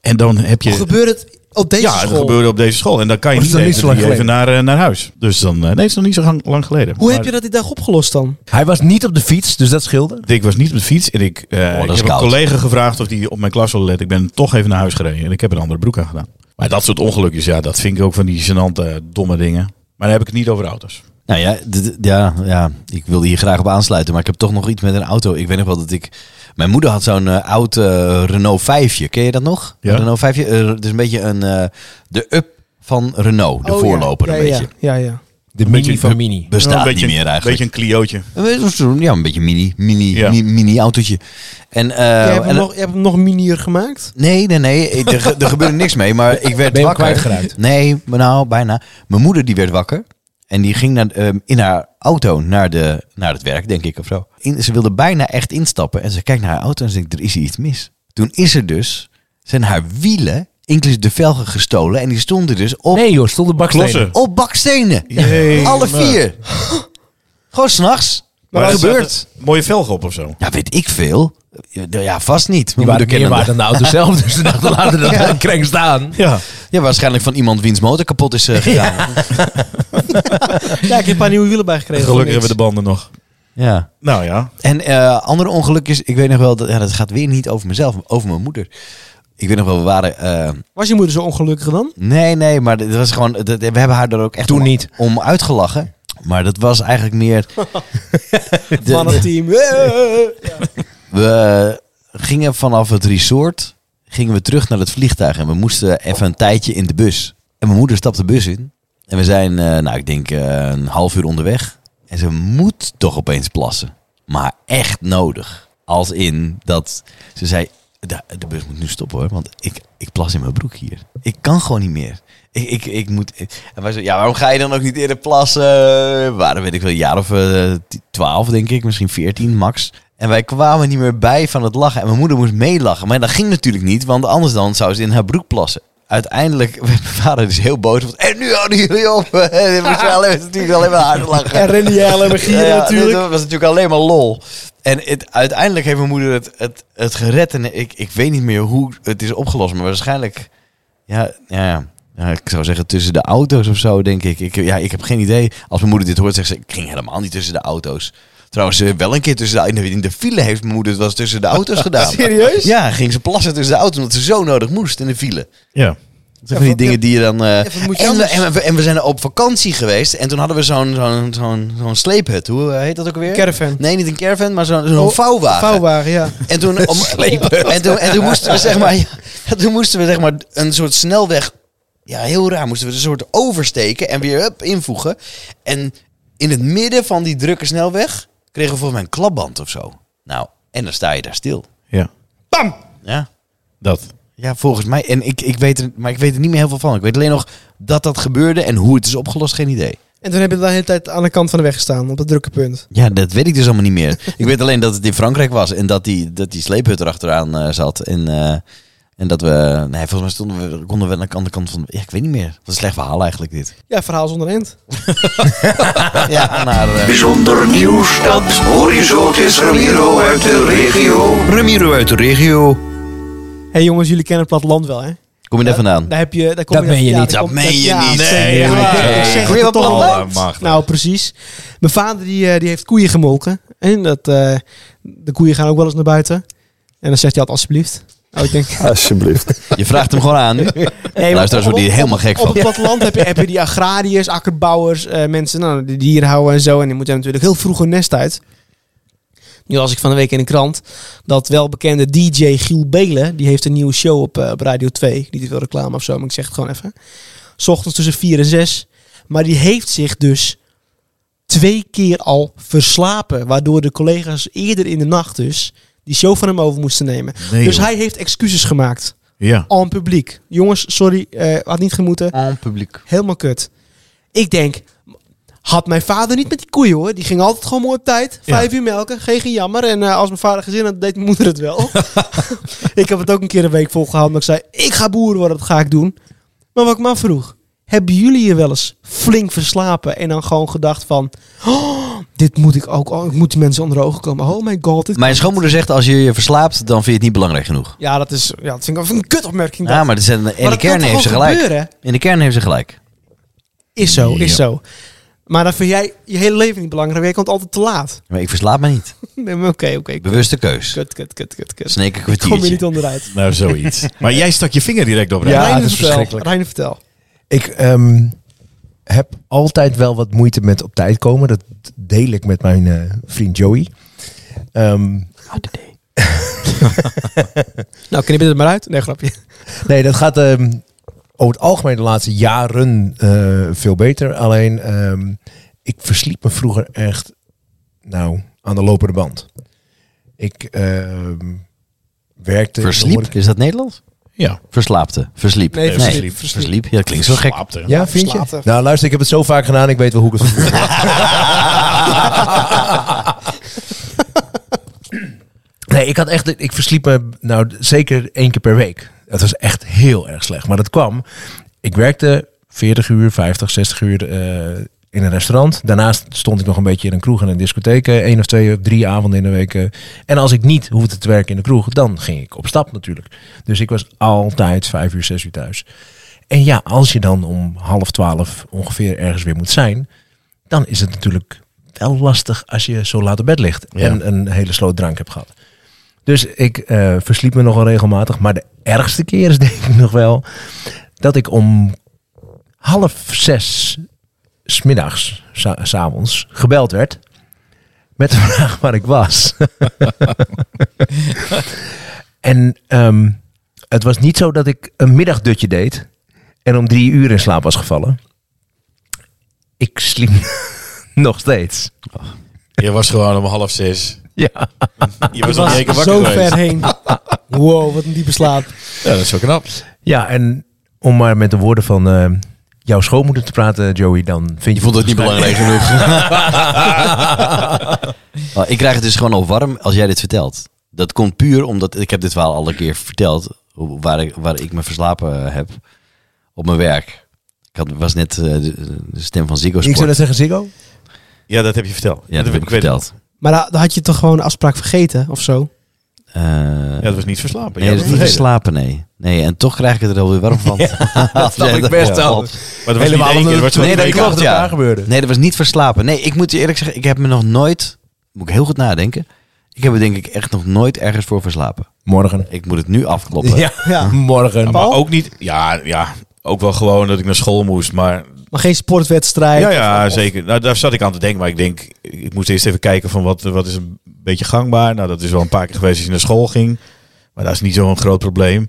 En dan heb je... Hoe Oh, gebeurt het op deze ja, dat school? gebeurde op deze school. En dan kan je Oh, dat is niet nog niet even, zo lang even naar, eh, naar huis. Dus dan... eh, nee, het is nog niet zo lang, lang geleden. Hoe heb Maar je dat die dag opgelost dan? Hij was niet op de fiets, dus dat scheelde. Ik was niet op de fiets en ik, eh, Oh, dat ik is heb koud. een collega gevraagd of die op mijn klas wilde letten. Ik ben toch even naar huis gereden en ik heb een andere broek aan gedaan. Maar dat soort ongelukjes, ja, dat vind ik ook van die gênante, eh, domme dingen. Maar dan heb ik het niet over auto's. Nou ja, d- d- ja, ja, ik wilde hier graag op aansluiten, maar ik heb toch nog iets met een auto. Ik weet nog wel dat ik... Mijn moeder had zo'n eh, oud eh, Renault 5je. Ken je dat nog? Ja. Renault 5je? Eh, het is een beetje een, eh, de up van Renault, de Oh, ja. voorloper ja, een ja, beetje. Ja, ja. De mini van mini. Bestaat een beetje, niet meer Een eigenlijk. beetje een Clio'tje. Een beetje zo'n- Ja, een beetje mini, mini, Ja. mi- mini autootje. En, eh, Jij hebt, en- hem nog, je hebt hem nog minier gemaakt? Nee, nee, nee. ik- Er, ge- er gebeurde niks mee, maar ik werd Ben je hem wakker. kwijtgeraakt? Nee, maar nou, bijna. Mijn moeder die werd wakker. En die ging naar, ehm, in haar auto naar, de, naar het werk, denk ik of zo. In, ze wilde bijna echt instappen. En ze kijkt naar haar auto en ze denkt, er is hier iets mis. Toen is er dus, zijn haar wielen, inclusief de velgen, gestolen. En die stonden dus op, Nee joh, stond de bakstenen. Klossen. op bakstenen. Jee, Alle maar. vier. Gewoon s'nachts. Wat er gebeurt? zaten Mooie velgen op of zo. Ja, weet ik veel. Ja, vast niet. Die Mijn moeder waren meer kende waard dan de auto zelf, dus ze dachten laten dat ja. kreng staan. Ja. Ja, waarschijnlijk van iemand wiens motor kapot is eh, gegaan. Ja. Ja, ik heb een paar nieuwe wielen bijgekregen. Gelukkig hebben we de banden nog. Nou ja. En eh, andere ongelukjes, ik weet nog wel, dat, ja, dat gaat weer niet over mezelf, maar over mijn moeder. Ik weet nog wel, we waren... eh, Was je moeder zo ongelukkig dan? nee, nee, maar dat was gewoon, dat, we hebben haar daar ook echt Toen om, niet. om uitgelachen. Maar dat was eigenlijk meer... de- Van het team. Eh, we gingen vanaf het resort, gingen we terug naar het vliegtuig. En we moesten even een tijdje in de bus. En mijn moeder stapte de bus in. En we zijn, eh, nou ik denk eh, een half uur onderweg. En ze moet toch opeens plassen. Maar echt nodig. Als in dat ze zei, de, de bus moet nu stoppen hoor. Want ik, ik plas in mijn broek hier. Ik kan gewoon niet meer. Ik, ik, ik moet... En wij zeiden, ja waarom ga je dan ook niet eerder plassen? We waren weet ik wel, een jaar of eh, 12 denk ik. Misschien 14 max. En wij kwamen niet meer bij van het lachen. En mijn moeder moest meelachen. Maar dat ging natuurlijk niet. Want anders dan zou ze in haar broek plassen. uiteindelijk werd mijn vader dus heel boos. Want, en nu houden jullie op. En Michelle heeft natuurlijk alleen maar hard lachen. eh. En Randy Allen en Gieren Ja, natuurlijk. Dat was natuurlijk alleen maar lol. En het, uiteindelijk heeft mijn moeder het, het, het gered. En ik, ik weet niet meer hoe het is opgelost. Maar waarschijnlijk... Ja, ja, ja. Ja, ik zou zeggen tussen de auto's of zo, denk ik. ik. Ja, ik heb geen idee. Als mijn moeder dit hoort, zegt ze... Ik ging helemaal niet tussen de auto's. Trouwens, eh, wel een keer tussen de... In de, in de file heeft mijn moeder het wel eens tussen de auto's gedaan. Serieus? Ja, ging ze plassen tussen de auto's omdat ze zo nodig moest in de file. Ja. Dat zijn van die wat- dingen die je dan... eh, wat moet je en, we, anders? en, we, en we zijn op vakantie geweest en toen hadden we zo'n zo'n zo'n zo'n sleephut. Hoe eh, heet dat ook weer? Caravan. Nee, niet een caravan, maar zo'n zo'n Oh, vouwwagen. Vouwwagen, ja. En toen, om, en toen, en toen moesten we zeg maar, ja, toen moesten we zeg maar een soort snelweg, ja heel raar, moesten we een soort oversteken en weer hup, invoegen. En in het midden van die drukke snelweg kregen we volgens mij een klapband of zo. Nou, en dan sta je daar stil. Ja. Bam! Ja. Dat. Ja, volgens mij. En ik, ik weet er, maar ik weet er niet meer heel veel van. Ik weet alleen nog dat dat gebeurde en hoe het is opgelost, geen idee. En toen heb je de hele tijd aan de kant van de weg gestaan, op dat drukke punt. Ja, dat weet ik dus allemaal niet meer. ik weet alleen dat het in Frankrijk was en dat die, dat die sleephut erachteraan eh zat. En, eh, en dat we, nee, volgens mij stonden we, konden we aan de andere kant van, ja, ik weet niet meer. Wat een slecht verhaal eigenlijk dit. Ja, verhaal zonder eind. ja, naar eh, Bijzonder nieuws, dat hoor je zo. Het is Ramiro uit de regio. Ramiro uit de regio. hey jongens, jullie kennen het platteland wel, hè? Kom je daar vandaan? Daar heb je... Daar kom Dat meen je ja, niet. daar Dat kom- meen je ja, niet. zeker. Nee, Ja, dat meen je ik niet. zeg Kom je het wel toch platteland? al. Allemachtig. Nou, precies. Mijn vader die, eh, die heeft koeien gemolken. En dat, eh, de koeien gaan ook wel eens naar buiten. En dan zegt hij altijd alsjeblieft. Oh, ik denk... Alsjeblieft. Je vraagt hem gewoon aan nu. Nee, Luisteraars op- worden hier op- helemaal gek Op van. het platteland heb je, heb je die agrariërs, akkerbouwers, eh, mensen nou, die dieren houden en zo. En die moeten natuurlijk heel vroeg hun nest uit. Nu las ik van de week in de krant dat welbekende DJ Giel Belen, die heeft een nieuwe show op, eh, op Radio 2. Niet veel reclame of zo, maar ik zeg het gewoon even. 's ochtends tussen 4 en 6. Maar die heeft zich dus twee keer al verslapen. Waardoor de collega's eerder in de nacht dus die show van hem over moesten nemen. Nee, dus joh. hij heeft excuses gemaakt Ja. aan publiek. Jongens, sorry, eh, had niet gemoeten. Aan publiek. Helemaal kut. Ik denk, had mijn vader niet met die koeien hoor. Die ging altijd gewoon mooi op tijd. Ja. Vijf uur melken, geen gejammer. En eh, als mijn vader gezin had, deed mijn moeder het wel. ik heb het ook een keer een week volgehouden. omdat ik zei, ik ga boer worden, dat ga ik doen. Maar wat ik me afvroeg, hebben jullie je wel eens flink verslapen en dan gewoon gedacht van... "Oh, dit moet ik ook, oh, ik moet die mensen onder ogen komen. Oh my god. Dit... Mijn schoonmoeder zegt als je je verslaapt, dan vind je het niet belangrijk genoeg. Ja, dat is ja, dat vind ik wel een kutopmerking. Ja, dat. maar er zijn- in de dat kan kern toch heeft ze gewoon gelijk. gebeuren? In de kern heeft ze gelijk. Is zo, is Ja. zo. Maar dan vind jij je hele leven niet belangrijk. want Je komt altijd te laat. Maar ik verslaap me niet. Nee, maar Oké, oké. Bewuste keus. Kut, kut, kut, kut, kut. Sneek een Kom je niet kwartiertje. onderuit. Nou, zoiets. maar jij stak je vinger direct op. Ja, Rijn. Reiner, dat is vertel. verschrikkelijk. Reiner, vertel. Ik ehm, heb altijd wel wat moeite met op tijd komen. Dat deel ik met mijn eh, vriend Joey. Ehm, Nou, knip je het maar uit. Nee, grapje. nee, dat gaat ehm, over het algemeen de laatste jaren eh, veel beter. Alleen, ehm, ik versliep me vroeger echt nou, aan de lopende band. Ik ehm, werkte... Versliep? Is dat Nederlands? Ja. Verslaapte. Versliep. Nee, versliep, versliep. versliep. Ja, dat klinkt zo gek. Slaapte. Ja, vind je? Verslaafd. Nou, luister, ik heb het zo vaak gedaan. Ik weet wel hoe ik het voel. Nee, ik had echt, ik versliep me nou zeker één keer per week. Het was echt heel erg slecht. Maar dat kwam, ik werkte 40 uur, 50, 60 uur eh, in een restaurant. Daarnaast stond ik nog een beetje in een kroeg en een discotheek. eh, één of twee of drie avonden in de week. eh. En als ik niet hoefde te werken in de kroeg, dan ging ik op stap natuurlijk. Dus ik was altijd vijf uur, zes uur thuis. En ja, als je dan om half twaalf ongeveer ergens weer moet zijn, dan is het natuurlijk wel lastig als je zo laat op bed ligt en een hele sloot drank hebt gehad. Dus ik eh, versliep me nogal regelmatig. Maar de ergste keer is denk ik nog wel dat ik om half zes smiddags, sa- s'avonds, gebeld werd. Met de vraag waar ik was. en ehm, het was niet zo dat ik een middagdutje deed. En om drie uur in slaap was gevallen. Ik sliep nog steeds. Je was gewoon om half zes. Ja. Nou, Je was al een keer wakker Zo geweest. ver heen. Wow, wat een diepe slaap. Ja, dat is zo knap. Ja, en om maar met de woorden van eh, jouw schoonmoeder te praten, Joey, dan vind je... Je vond het niet belangrijk genoeg. Nou, ik krijg het dus gewoon al warm als jij dit vertelt. Dat komt puur omdat ik heb dit verhaal al een keer verteld. hoe- Waar ik, waar ik me verslapen eh, heb. op mijn werk. Ik had, was net eh, de, de stem van Ziggo Ik Sport. zou dat zeggen, Ziggo? Ja, dat heb je verteld. ja, dat heb ik weet verteld. Maar da- dan had je toch gewoon een afspraak vergeten of zo? Eh, Ja, dat was niet verslapen. nee, Ja, dat dat is niet was vergeten. slapen, nee. Nee, en toch krijg ik het er alweer warm van. dat snap ik best al. Maar dat was niet één keer, dat was wel Nee, dat twee keer. klopt, ja. daar gebeurde. Nee, dat was niet verslapen. Nee, ik moet je eerlijk zeggen, ik heb me nog nooit... Moet ik heel goed nadenken. Ik heb er denk ik echt nog nooit ergens voor verslapen. Morgen. Ik moet het nu afkloppen. Ja, Ja. morgen. Maar ook niet... Ja, ja, ook wel gewoon dat ik naar school moest, maar... Maar geen sportwedstrijd. Ja, ja, zeker. Nou, daar zat ik aan te denken, maar ik denk... Ik moest eerst even kijken van wat, wat is een beetje gangbaar. Nou, dat is wel een paar keer geweest als je naar school ging. Maar dat is niet zo'n groot probleem.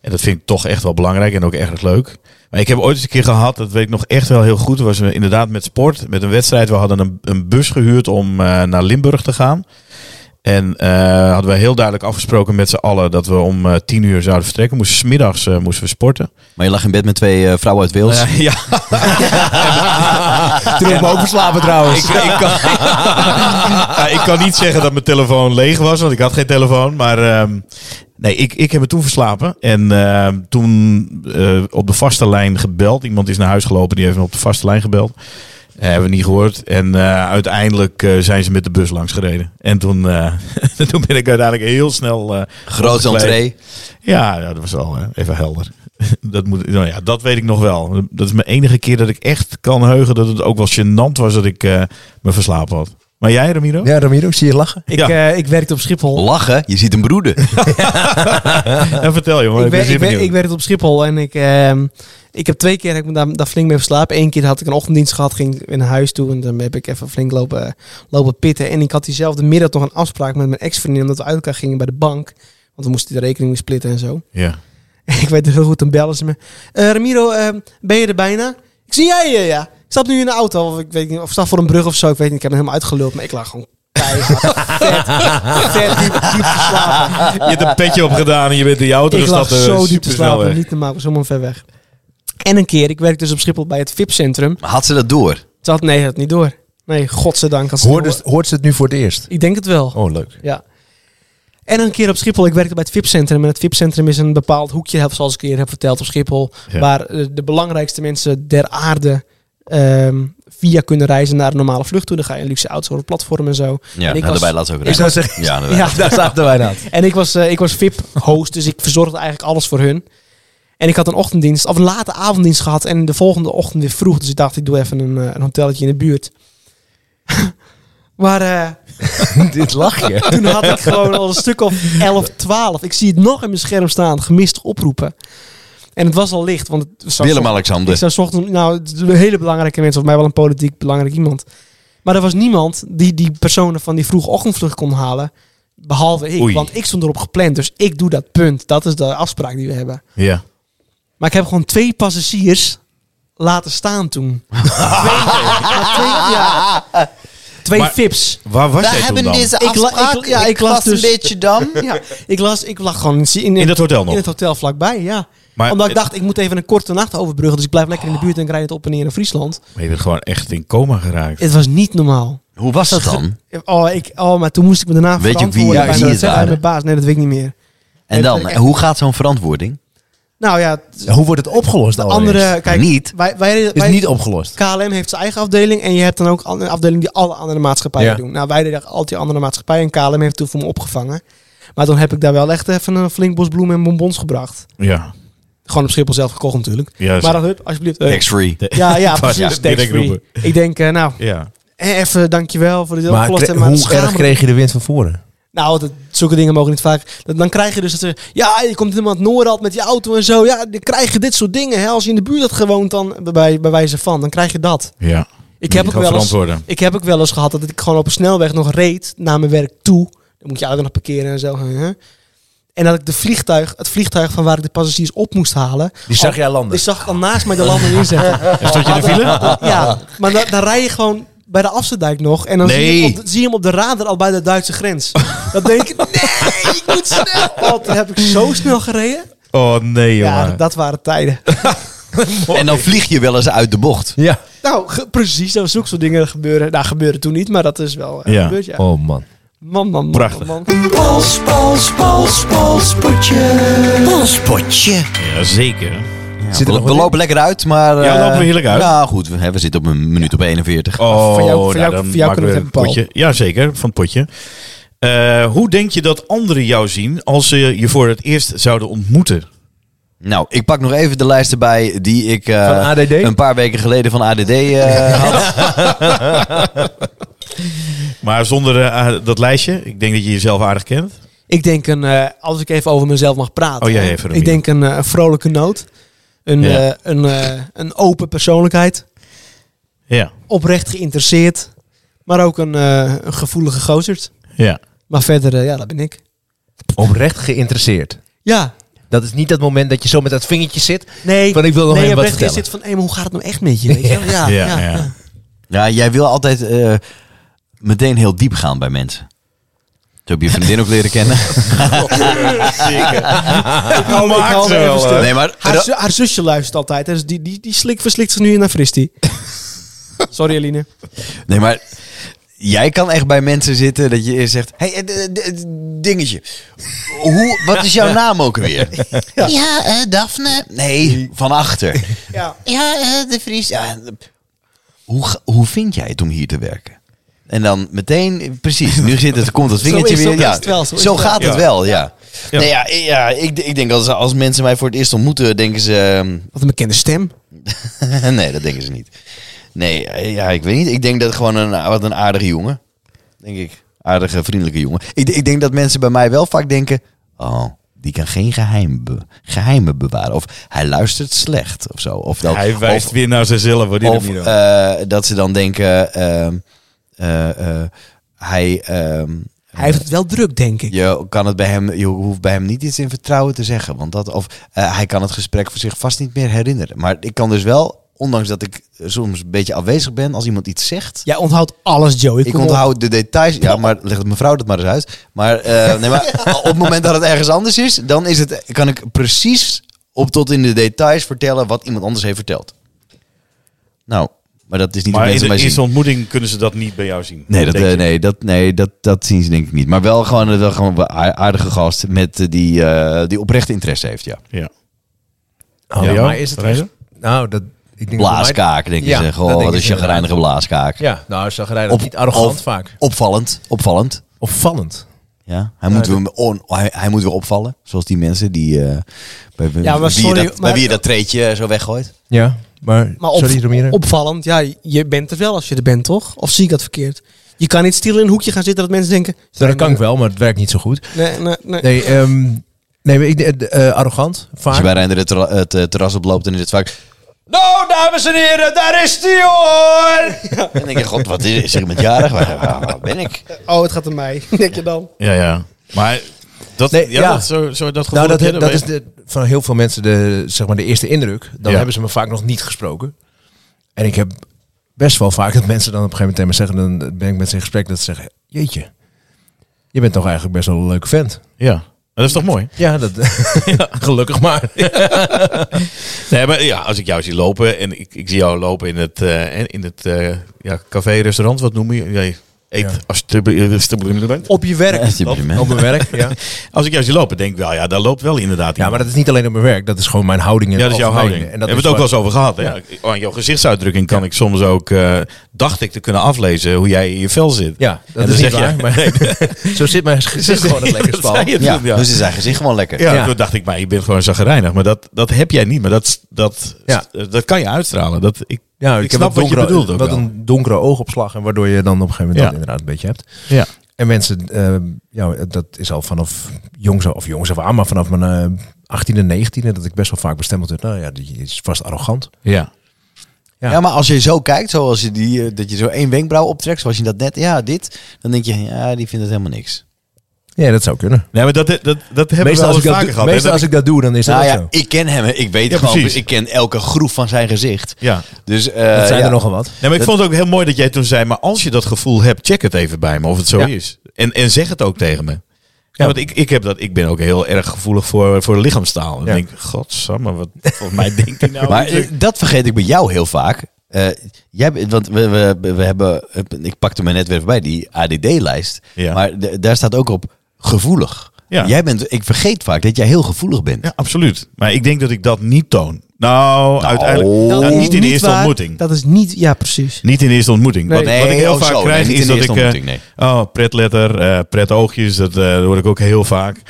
En dat vind ik toch echt wel belangrijk en ook erg leuk. Maar ik heb ooit eens een keer gehad, dat weet ik nog echt wel heel goed. Dat was inderdaad met sport, met een wedstrijd. We hadden een, een bus gehuurd om eh, naar Limburg te gaan. En eh, hadden we heel duidelijk afgesproken met z'n allen dat we om eh, tien uur zouden vertrekken. Moesten, 's middags eh, moesten we sporten. Maar je lag in bed met twee eh, vrouwen uit Wales. Eh, ja, Toen heb ik me ook verslapen trouwens. Ik, ik, kan, Ja, ik kan niet zeggen dat mijn telefoon leeg was, want ik had geen telefoon. Maar ehm, nee, ik, ik heb me toen verslapen. En ehm, toen eh, op de vaste lijn gebeld. Iemand is naar huis gelopen, die heeft me op de vaste lijn gebeld. Eh, hebben we niet gehoord. En eh, uiteindelijk eh, zijn ze met de bus langs gereden. En toen, eh, toen ben ik uiteindelijk heel snel... eh, Grote opgekleed. entree. Ja, ja, dat was wel eh, even helder. Dat, moet, nou ja, dat weet ik nog wel. Dat is mijn enige keer dat ik echt kan heugen dat het ook wel gênant was dat ik eh, me verslapen had. Maar jij, Ramiro? Ja, Ramiro, ik zie je lachen. Ik, Ja. eh, ik werkte op Schiphol. Lachen, je ziet hem broeden. En Nou, vertel jongen, ik, ik, ben wer, zeer ik, wer, benieuwd. ik werkte op Schiphol en ik, ehm, ik heb twee keer heb ik me daar, daar flink mee verslapen. Eén keer had ik een ochtenddienst gehad, ging ik naar huis toe en dan heb ik even flink lopen, lopen pitten. En ik had diezelfde middag nog een afspraak met mijn ex-vriendin omdat we uit elkaar gingen bij de bank. Want we moesten de rekening weer splitten en zo. ja. Ik weet het heel goed, dan bellen ze me. Eh, Ramiro, eh, ben je er bijna? Ik zie jij je, ja. Ik stap nu in de auto, of ik weet niet, of sta voor een brug of zo. Ik weet niet, ik heb hem helemaal uitgeluld, maar ik lag gewoon keihard, vet, vet diep, diep te slapen. Je hebt een petje op gedaan en je bent in je auto Ik lag gestapt. eh, zo diep te supersnel slapen, weg. niet te maken, was helemaal ver weg. En een keer, ik werk dus op Schiphol bij het VIP-centrum. Maar had ze dat door? Ze had, nee, dat niet door. Nee, godzijdank. Als Hoort, dus- hoort ze het nu voor het eerst? Ik denk het wel. Oh, leuk. Ja. En een keer op Schiphol, ik werkte bij het VIP-centrum. En het VIP-centrum is een bepaald hoekje, heb- zoals ik eerder heb verteld, op Schiphol. Ja. Waar eh, de belangrijkste mensen der aarde ehm, via kunnen reizen naar een normale vlucht toe. Dan ga je in luxe auto's over het platform en zo. Ja, en nou, ik was, daarbij laat ze ook Ik rijden. zou zeggen, Ja, daarbij. ja, daar zaten wij aan. en ik was, eh, ik was VIP-host, dus ik verzorgde eigenlijk alles voor hun. En ik had een ochtenddienst, of een late avonddienst gehad. En de volgende ochtend weer vroeg. Dus ik dacht, ik doe even een, eh, een hotelletje in de buurt. maar... eh, Dit lach je. toen had ik gewoon al een stuk of 11, 12. Ik zie het nog in mijn scherm staan. Gemist oproepen. En het was al licht. Want het zou ik Willem-Alexander. zou 's ochtends, nou, het is een hele belangrijke mensen, of mij wel een politiek belangrijk iemand. Maar er was niemand die die personen van die vroege ochtendvlucht kon halen. Behalve ik, Oei. want ik stond erop gepland. Dus ik doe dat punt. Dat is de afspraak die we hebben. Ja. Maar ik heb gewoon twee passagiers laten staan toen. twee, ja, twee, ja. twee Maar- vips. Waar was jij toen dan? Ik la- ik- ja, ik las dus- dam. Ja, ik, las, ik lag gewoon in, in, In dat hotel nog? in het hotel vlakbij, ja. Maar- Ah. Omdat ik dacht, ik moet even een korte nacht overbruggen. Dus ik blijf lekker in de buurt en ik rijd het op en neer naar Friesland. Maar je bent gewoon echt in coma geraakt. Het was niet normaal. Hoe was dat dan? Oh, ik, oh maar toen moest ik me daarna Weet je verantwoorden wie- bij wie mijn- het waren? bij mijn baas. Nee, dat weet ik niet meer. En dan, en hoe gaat zo'n verantwoording? Nou ja, het- Hoe wordt het opgelost? allereerst? andere... Kijk, Niet. Wij, wij, Is wij- niet opgelost. KLM heeft zijn eigen afdeling en je hebt dan ook al- een afdeling die alle andere maatschappijen Ja. doen. Nou, wij deden al die andere maatschappijen en KLM heeft toen voor me opgevangen. Maar dan heb ik daar wel echt even een flink bos bloemen en bonbons gebracht. Ja. Gewoon op Schiphol zelf gekocht natuurlijk. Ja, maar zo- dan, hup, alsjeblieft. eh, Tax-free. Ja, ja, Ja, precies. direct tax-free. roepen. Ik denk, eh, nou, ja. eh, even dankjewel voor dit Maar opgelost. kre- hebben, maar hoe schaam erg me- kreeg je de wind van voren? Nou, dat, zulke dingen mogen niet vaak. Dat- dan krijg je dus dat ze, ja, je komt helemaal het Noorad met je auto en zo. Ja, dan krijg je dit soort dingen. Hè. Als je in de buurt had gewoond, dan bij, bij wijze van, dan krijg je dat. ja. Ik heb, ook gaat wel eens, verantwoorden. ik heb ook wel eens gehad dat ik gewoon op een snelweg nog reed naar mijn werk toe. Dan moet je auto nog parkeren en zo. hè. En dat ik de vliegtuig, het vliegtuig van waar ik de passagiers op moest halen. Die zag jij landen. Die zag ik al naast mij de landing inzetten. En stond je in de file? Ja, maar dan, dan rij je gewoon bij de Afsterdijk nog. En dan Nee. zie, je hem op de- zie je hem op de radar al bij de Duitse grens. Dan denk ik, nee, ik moet snel. Want dan heb ik zo snel gereden. Oh nee, jongen. Ja, dat waren tijden. En dan vlieg je wel eens uit de bocht. Ja. Nou, ge- precies, dat zulke soort dingen gebeuren. Nou, gebeuren toen niet, maar dat is wel eh, Ja. gebeurd, ja. Man, Oh man. man, man. Prachtig. man. Pols, pols, pols, polspotje. Polspotje. Ja, zeker. Zit We, er nog we wat in? lopen lekker uit, maar... Ja, we eh, lopen heerlijk uit. Nou goed, we, hè, we zitten op een minuut op 41. Oh, Voor jou- voor nou, jou- dan voor jou kunnen maken we een het hebben, potje. Jazeker, van het potje. Eh, hoe denk je dat anderen jou zien als ze je voor het eerst zouden ontmoeten? Nou, ik pak nog even de lijst erbij die ik eh, Van ADD? een paar weken geleden van ADD eh, had. Maar zonder eh, dat lijstje, ik denk dat je jezelf aardig kent. Ik denk een, eh, als ik even over mezelf mag praten. Oh, jij hè. even, Remy. Ik denk een, eh, een vrolijke noot. Een, Ja. eh, een, eh, een open persoonlijkheid. Ja, Oprecht geïnteresseerd. Maar ook een, eh, een gevoelige gozerd. ja. Maar verder, eh, ja, dat ben ik. Oprecht geïnteresseerd. Ja, Dat is niet dat moment dat je zo met dat vingertje zit. nee. Van, ik wil nog nee, even wat oprecht is vertellen. dit van, hé, maar hoe gaat het nou echt met je? Weet je? wel? Ja, Ja, ja, ja, ja. Ja, jij wil altijd eh, meteen heel diep gaan bij mensen. Zo heb je vriendin ook leren kennen. Nou, Oh, ik hou hem even stil. eh, Nee, maar Haar, zu- haar zusje luistert altijd. hè, Dus die, die, die slik verslikt zich nu naar Fristie. Sorry, Eline. Nee, maar jij kan echt bij mensen zitten dat je eerst zegt... Hé, hey, eh, d- d- dingetje. Hoe, wat is jouw naam ook weer? Ja, eh, Daphne. Nee, van achter. Ja. Ja, eh, de Vries. Ja, hoe, ga- hoe vind jij het om hier te werken? En dan meteen, precies, nu zit het, komt dat vingertje is- zo weer. is ja, het wel, zo is het wel. gaat het Ja. wel, ja. Ja. Nee, ja, ja ik, ik denk als, als mensen mij voor het eerst ontmoeten, denken ze... ehm, Wat een bekende stem. nee, dat denken ze niet. Nee, eh, ja, ik weet niet. Ik denk dat gewoon een, wat een aardige jongen. Denk ik. Aardige, vriendelijke jongen. Ik, ik denk dat mensen bij mij wel vaak denken... Oh, die kan geen geheim be- geheimen bewaren. Of hij luistert slecht of zo. Of dat, eh, Hij wijst of, weer naar zichzelf. hoor, die of Ramiro. eh, dat ze dan denken... ehm, eh, eh, hij... ehm, Hij heeft het wel druk, denk ik. je, kan het bij hem, je hoeft bij hem niet iets in vertrouwen te zeggen. Want dat, of eh, hij kan het gesprek voor zich vast niet meer herinneren. Maar ik kan dus wel, ondanks dat ik soms een beetje afwezig ben als iemand iets zegt. Jij onthoudt alles, Joey. Ik Kom op. onthoud de details. Ja, maar leg het mevrouw dat maar eens uit. Maar, eh, nee, maar op het moment dat het ergens anders is, dan is het, kan ik precies op tot in de details vertellen wat iemand anders heeft verteld. Nou, maar dat is niet maar hoe in mensen de mij zien. eerste ontmoeting kunnen ze dat niet bij jou zien. Nee, dat, Denk eh, je? nee, dat, nee dat, dat zien ze denk ik niet. Maar wel gewoon, eh, wel gewoon een aar- aardige gast met eh, die, eh, die oprechte interesse heeft, ja. Ja. Oh, Ja, maar is het Reizen? Nou, dat... Ik denk dat bij mij- Blaaskaak, denk je. Ja, ze. dat Goh, denk wat ik een chagrijnige inderdaad. blaaskaak. Ja, nou, chagrijnig. Op, niet arrogant op- vaak. Opvallend, opvallend. Opvallend. Ja, hij, moet weer, on, hij, hij moet weer opvallen, zoals die mensen die, eh, bij, bij- Ja, maar wie je sorry, dat, bij maar- wie je dat treetje eh, zo weggooit. Ja, maar... Maar op- sorry, Romero. opvallend, ja, je bent er wel als je er bent, toch? Of zie ik dat verkeerd? Je kan niet stil in een hoekje gaan zitten dat mensen denken... dat kan ik wel, maar het werkt niet zo goed. Nee, nee, nee. Nee, ehm, nee maar ik, eh, eh, arrogant, Als je bij vaak. Reinder het, terra- het eh, terras oploopt, dan is het vaak... Nou, dames en heren, daar is die hoor! En dan denk je, god, wat is, is er met jarig? Waar, waar- waar ben ik? Oh, het gaat om mij, denk je dan. Ja, Nou, ja. Maar dat, Nee, ja, ja. Dat, zo, zo, dat gevoel Nou, dat, heb je dat erbij. is de, van heel veel mensen de, zeg maar, de eerste indruk. Dan Ja. hebben ze me vaak nog niet gesproken. En ik heb best wel vaak dat mensen dan op een gegeven moment tegen me zeggen... dan ben ik met ze in gesprek dat ze zeggen... Jeetje, je bent toch eigenlijk best wel een leuke vent. Ja, Maar dat is toch mooi? Ja, dat, gelukkig maar. Nee, maar ja, als ik jou zie lopen en ik, ik zie jou lopen in het, eh, in het eh, ja, café, restaurant, wat noem je? Nee, eet Ja. alsjeblieft- alsjeblieft. Op je werk. Alsjeblieft. Op mijn werk, ja. Als ik jou zie lopen, denk ik wel, ja, daar loopt wel inderdaad Ja, iemand. maar dat is niet alleen op mijn werk. Dat is gewoon mijn houding. in Ja, dat het is jouw algemeen. houding. En Hebben dat we is het ook wel wat- eens over gehad. Hè? Oh, Aan jouw gezichtsuitdrukking kan ik soms ook, eh, dacht ik, te kunnen aflezen hoe jij in je vel zit. Ja, dat En dan is niet zeg waar. je- Maar zo zit mijn gezicht gewoon het lekker Dat spal. zei je Ja, toen, ja. dus is zijn gezicht gewoon lekker. Ja, Ja. toen dacht ik, maar je bent gewoon zagrijnig. Maar dat, dat heb jij niet. Maar dat, dat, Ja. dat kan je uitstralen. Dat, ik, Ja, ik, ik heb snap een wat je donkere, bedoelt ook wat wel. een donkere oogopslag. En waardoor je dan op een gegeven moment Ja. dat inderdaad een beetje hebt. Ja. En mensen, eh, ja, dat is al vanaf jongs af, of jongs af aan, maar vanaf mijn eh 18e, 19e, dat ik best wel vaak bestempeld werd. Nou ja, die is vast arrogant. Ja. Ja. Ja, maar als je zo kijkt, zoals je die, eh, dat je zo één wenkbrauw optrekt, zoals je dat net, ja, dit, dan denk je, ja, die vindt het helemaal niks. Ja, dat zou kunnen. Nee, maar dat, dat, dat hebben Meestal, we als al ik, eens dat vaker doe, gehad. hè, meestal dat als ik dat doe, dan is dat Nou ook ja, zo. ik ken hem, hè. ik weet Ja, gewoon, precies. ik ken elke groef van zijn gezicht. ik- ja. Dus, eh, Dat zijn ja. er nogal wat. Nee, maar ik Dat- vond het ook heel mooi dat jij toen zei... maar als je dat gevoel hebt, check het even bij me of het zo Ja. is. En, en zeg het ook tegen me. Ja, want ik, ik, heb dat, ik ben ook heel erg gevoelig voor, voor de lichaamstaal. En Ja. denk ik, godsamme, wat volgens mij denkt hij nou? Maar eh, dat vergeet ik bij jou heel vaak. Eh, jij, bent- want we, we, we hebben, ik pakte me net weer voorbij, die ADD-lijst. Ja. Maar d- daar staat ook op gevoelig. Ja. Jij bent, ik vergeet vaak dat jij heel gevoelig bent. Ja, absoluut. Maar ik denk dat ik dat niet toon. Nou, uiteindelijk. Dat nou, is niet in de eerste waar. ontmoeting. Dat is niet, ja precies. Niet in de eerste ontmoeting. Nee. Wat, wat ik heel oh, vaak zo, nee, krijg niet in is de dat ik... eerste eh, ontmoeting, nee. Oh, pretletter, eh pret oogjes, dat, eh, hoor ik ook heel vaak.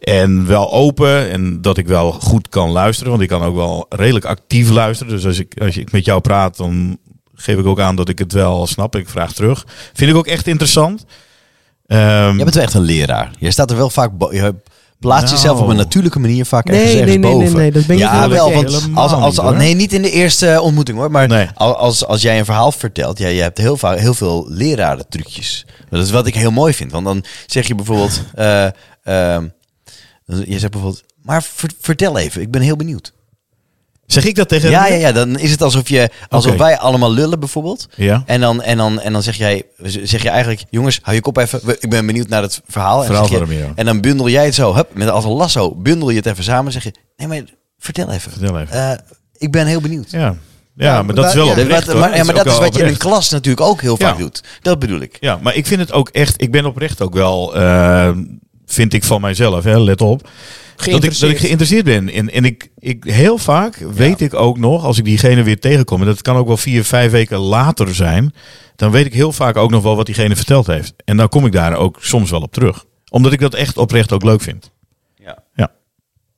En wel open en dat ik wel goed kan luisteren, want ik kan ook wel redelijk actief luisteren. Dus als ik, als ik met jou praat, dan geef ik ook aan dat ik het wel snap. Ik vraag terug. Vind ik ook echt interessant. Ehm, Jij bent wel echt een leraar. Jij staat er wel vaak bo- Je plaatst Nou. jezelf op een natuurlijke manier vaak Nee, ergens, nee, ergens nee, nee, boven. nee, dat ben ik ja, niet wel. met je. Want als, Helemaal als, niet, hoor. nee, niet in de eerste eh, ontmoeting hoor. Maar Nee. al- als, als jij een verhaal vertelt, jij, jij hebt heel, vaak, heel veel leraren trucjes. Dat is wat ik heel mooi vind. Want dan zeg je bijvoorbeeld... eh, ehm, je zegt bijvoorbeeld... Maar ver- vertel even, ik ben heel benieuwd. zeg ik dat tegen Ja, hem? ja, ja, dan is het alsof, je, alsof Oké. wij allemaal lullen bijvoorbeeld. Ja. En, dan, en, dan, en dan zeg jij zeg je eigenlijk, jongens, hou je kop even. we- Ik ben benieuwd naar het Verhaal verhaal. en, dan van zeg je- Romeo. en dan bundel jij het zo, hup, met als een lasso, bundel je het even samen. zeg je, nee, maar vertel even. Vertel even. Eh, ik ben heel benieuwd. Ja. Ja, maar dat is wel Ja, oprecht, Wat- hoor. maar ja, maar ook dat is wel wat je in een oprecht. klas natuurlijk ook heel vaak Ja. doet. Dat bedoel ik. Ja, maar ik vind het ook echt. Ik ben oprecht ook wel. eh, vind ik van mijzelf, hè, let op. Dat ik, dat ik geïnteresseerd ben. En, en ik, ik, heel vaak weet ik ook nog, als ik diegene weer tegenkom, en dat kan ook wel vier, vijf weken later zijn, dan weet ik heel vaak ook nog wel wat diegene verteld heeft. En dan kom ik daar ook soms wel op terug. Omdat ik dat echt oprecht ook leuk vind. Ja. ja.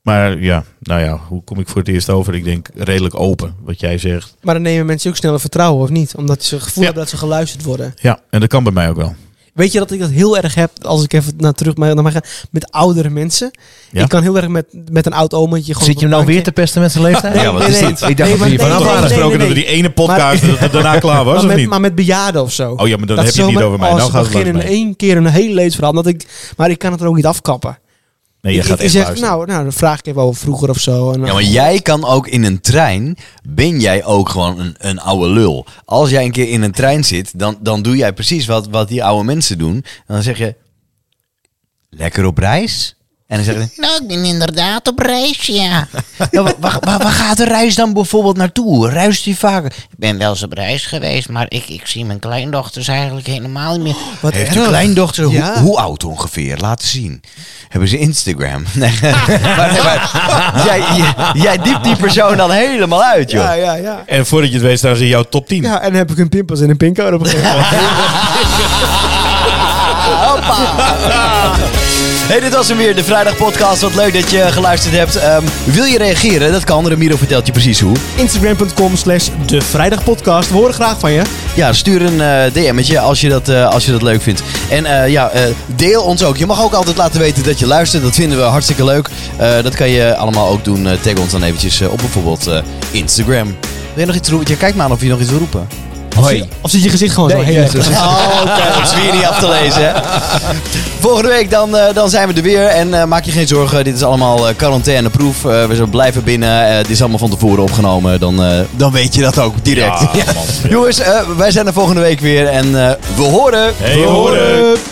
Maar ja, nou ja, hoe kom ik voor het eerst over? Ik denk redelijk open, wat jij zegt. Maar dan nemen mensen ook sneller vertrouwen, of niet? Omdat ze het gevoel Ja. hebben dat ze geluisterd worden. Ja, en dat kan bij mij ook wel. Weet je dat ik dat heel erg heb, als ik even naar terug naar mij ga, met oudere mensen? Ja. Ik kan heel erg met, met een oud omaatje gewoon... Zit je hem nou weer te pesten met zijn leeftijd? Ja, wat is dit? Ik dacht Nee, dat we maar- nee, hier We vanaf nee, hadden waren. nee, afgesproken nee. dat we die ene podcast dat het daarna klaar was, maar, of met, niet? maar met bejaarden of zo. Oh ja, maar dan dat heb ze je het niet zomaar- over mij. oh, Nou ze gaat het beginnen wel in mee. één keer een heel levensverhaal. omdat Ik, maar ik kan het er ook niet afkappen. Nee, je ik, gaat ik echt zeg, luisteren. nou, nou, dan vraag ik even over vroeger of zo. En, eh, Ja, maar jij kan ook in een trein, ben jij ook gewoon een, een oude lul. Als jij een keer in een trein zit, dan, dan doe jij precies wat, wat die oude mensen doen. En dan zeg je, lekker op reis? En dan zeggen ze, Nou, ik ben inderdaad op reis, ja. ja, wa- wa- wa- waar, gaat de reis dan bijvoorbeeld naartoe? Reist die vaker? Ik ben wel eens op reis geweest, maar ik, ik zie mijn kleindochters eigenlijk helemaal niet meer. wat Heeft erg. de kleindochter, hoe, Ja. hoe oud ongeveer? Laten zien. Hebben ze Instagram? Nee, maar, nee, maar jij, jij, jij diept die persoon dan helemaal uit, joh. Ja, ja, ja. En voordat je het weet staan ze in jouw top 10. Ja, en dan heb ik een pimpels en een pincode op een gegeven moment. Hey, dit was hem weer, de Vrijdag Podcast. Wat leuk dat je geluisterd hebt. Ehm, wil je reageren? Dat kan. Ramiro vertelt je precies hoe. Instagram.com slash de vrijdagpodcast. We horen graag van je. Ja, stuur een eh DM'tje als je, dat, eh, als je dat leuk vindt. En eh, ja, eh, deel ons ook. Je mag ook altijd laten weten dat je luistert. Dat vinden we hartstikke leuk. Eh, dat kan je allemaal ook doen. Eh, tag ons dan eventjes eh, op bijvoorbeeld eh, Instagram. Wil je nog iets roepen? Ja, kijk maar aan of je nog iets wil roepen. Hoi. Of zit je gezicht gewoon zo heel erg- Oh, oké. Dat is weer niet af te lezen, hè? Volgende week dan, eh, dan zijn we er weer. En eh, maak je geen zorgen, dit is allemaal eh, quarantaineproef. Eh, we zullen blijven binnen. Eh, dit is allemaal van tevoren opgenomen. Dan, eh, dan weet je dat ook direct. Ja, man. Jongens, eh, wij zijn er volgende week weer. En eh, we horen... Hey, horen.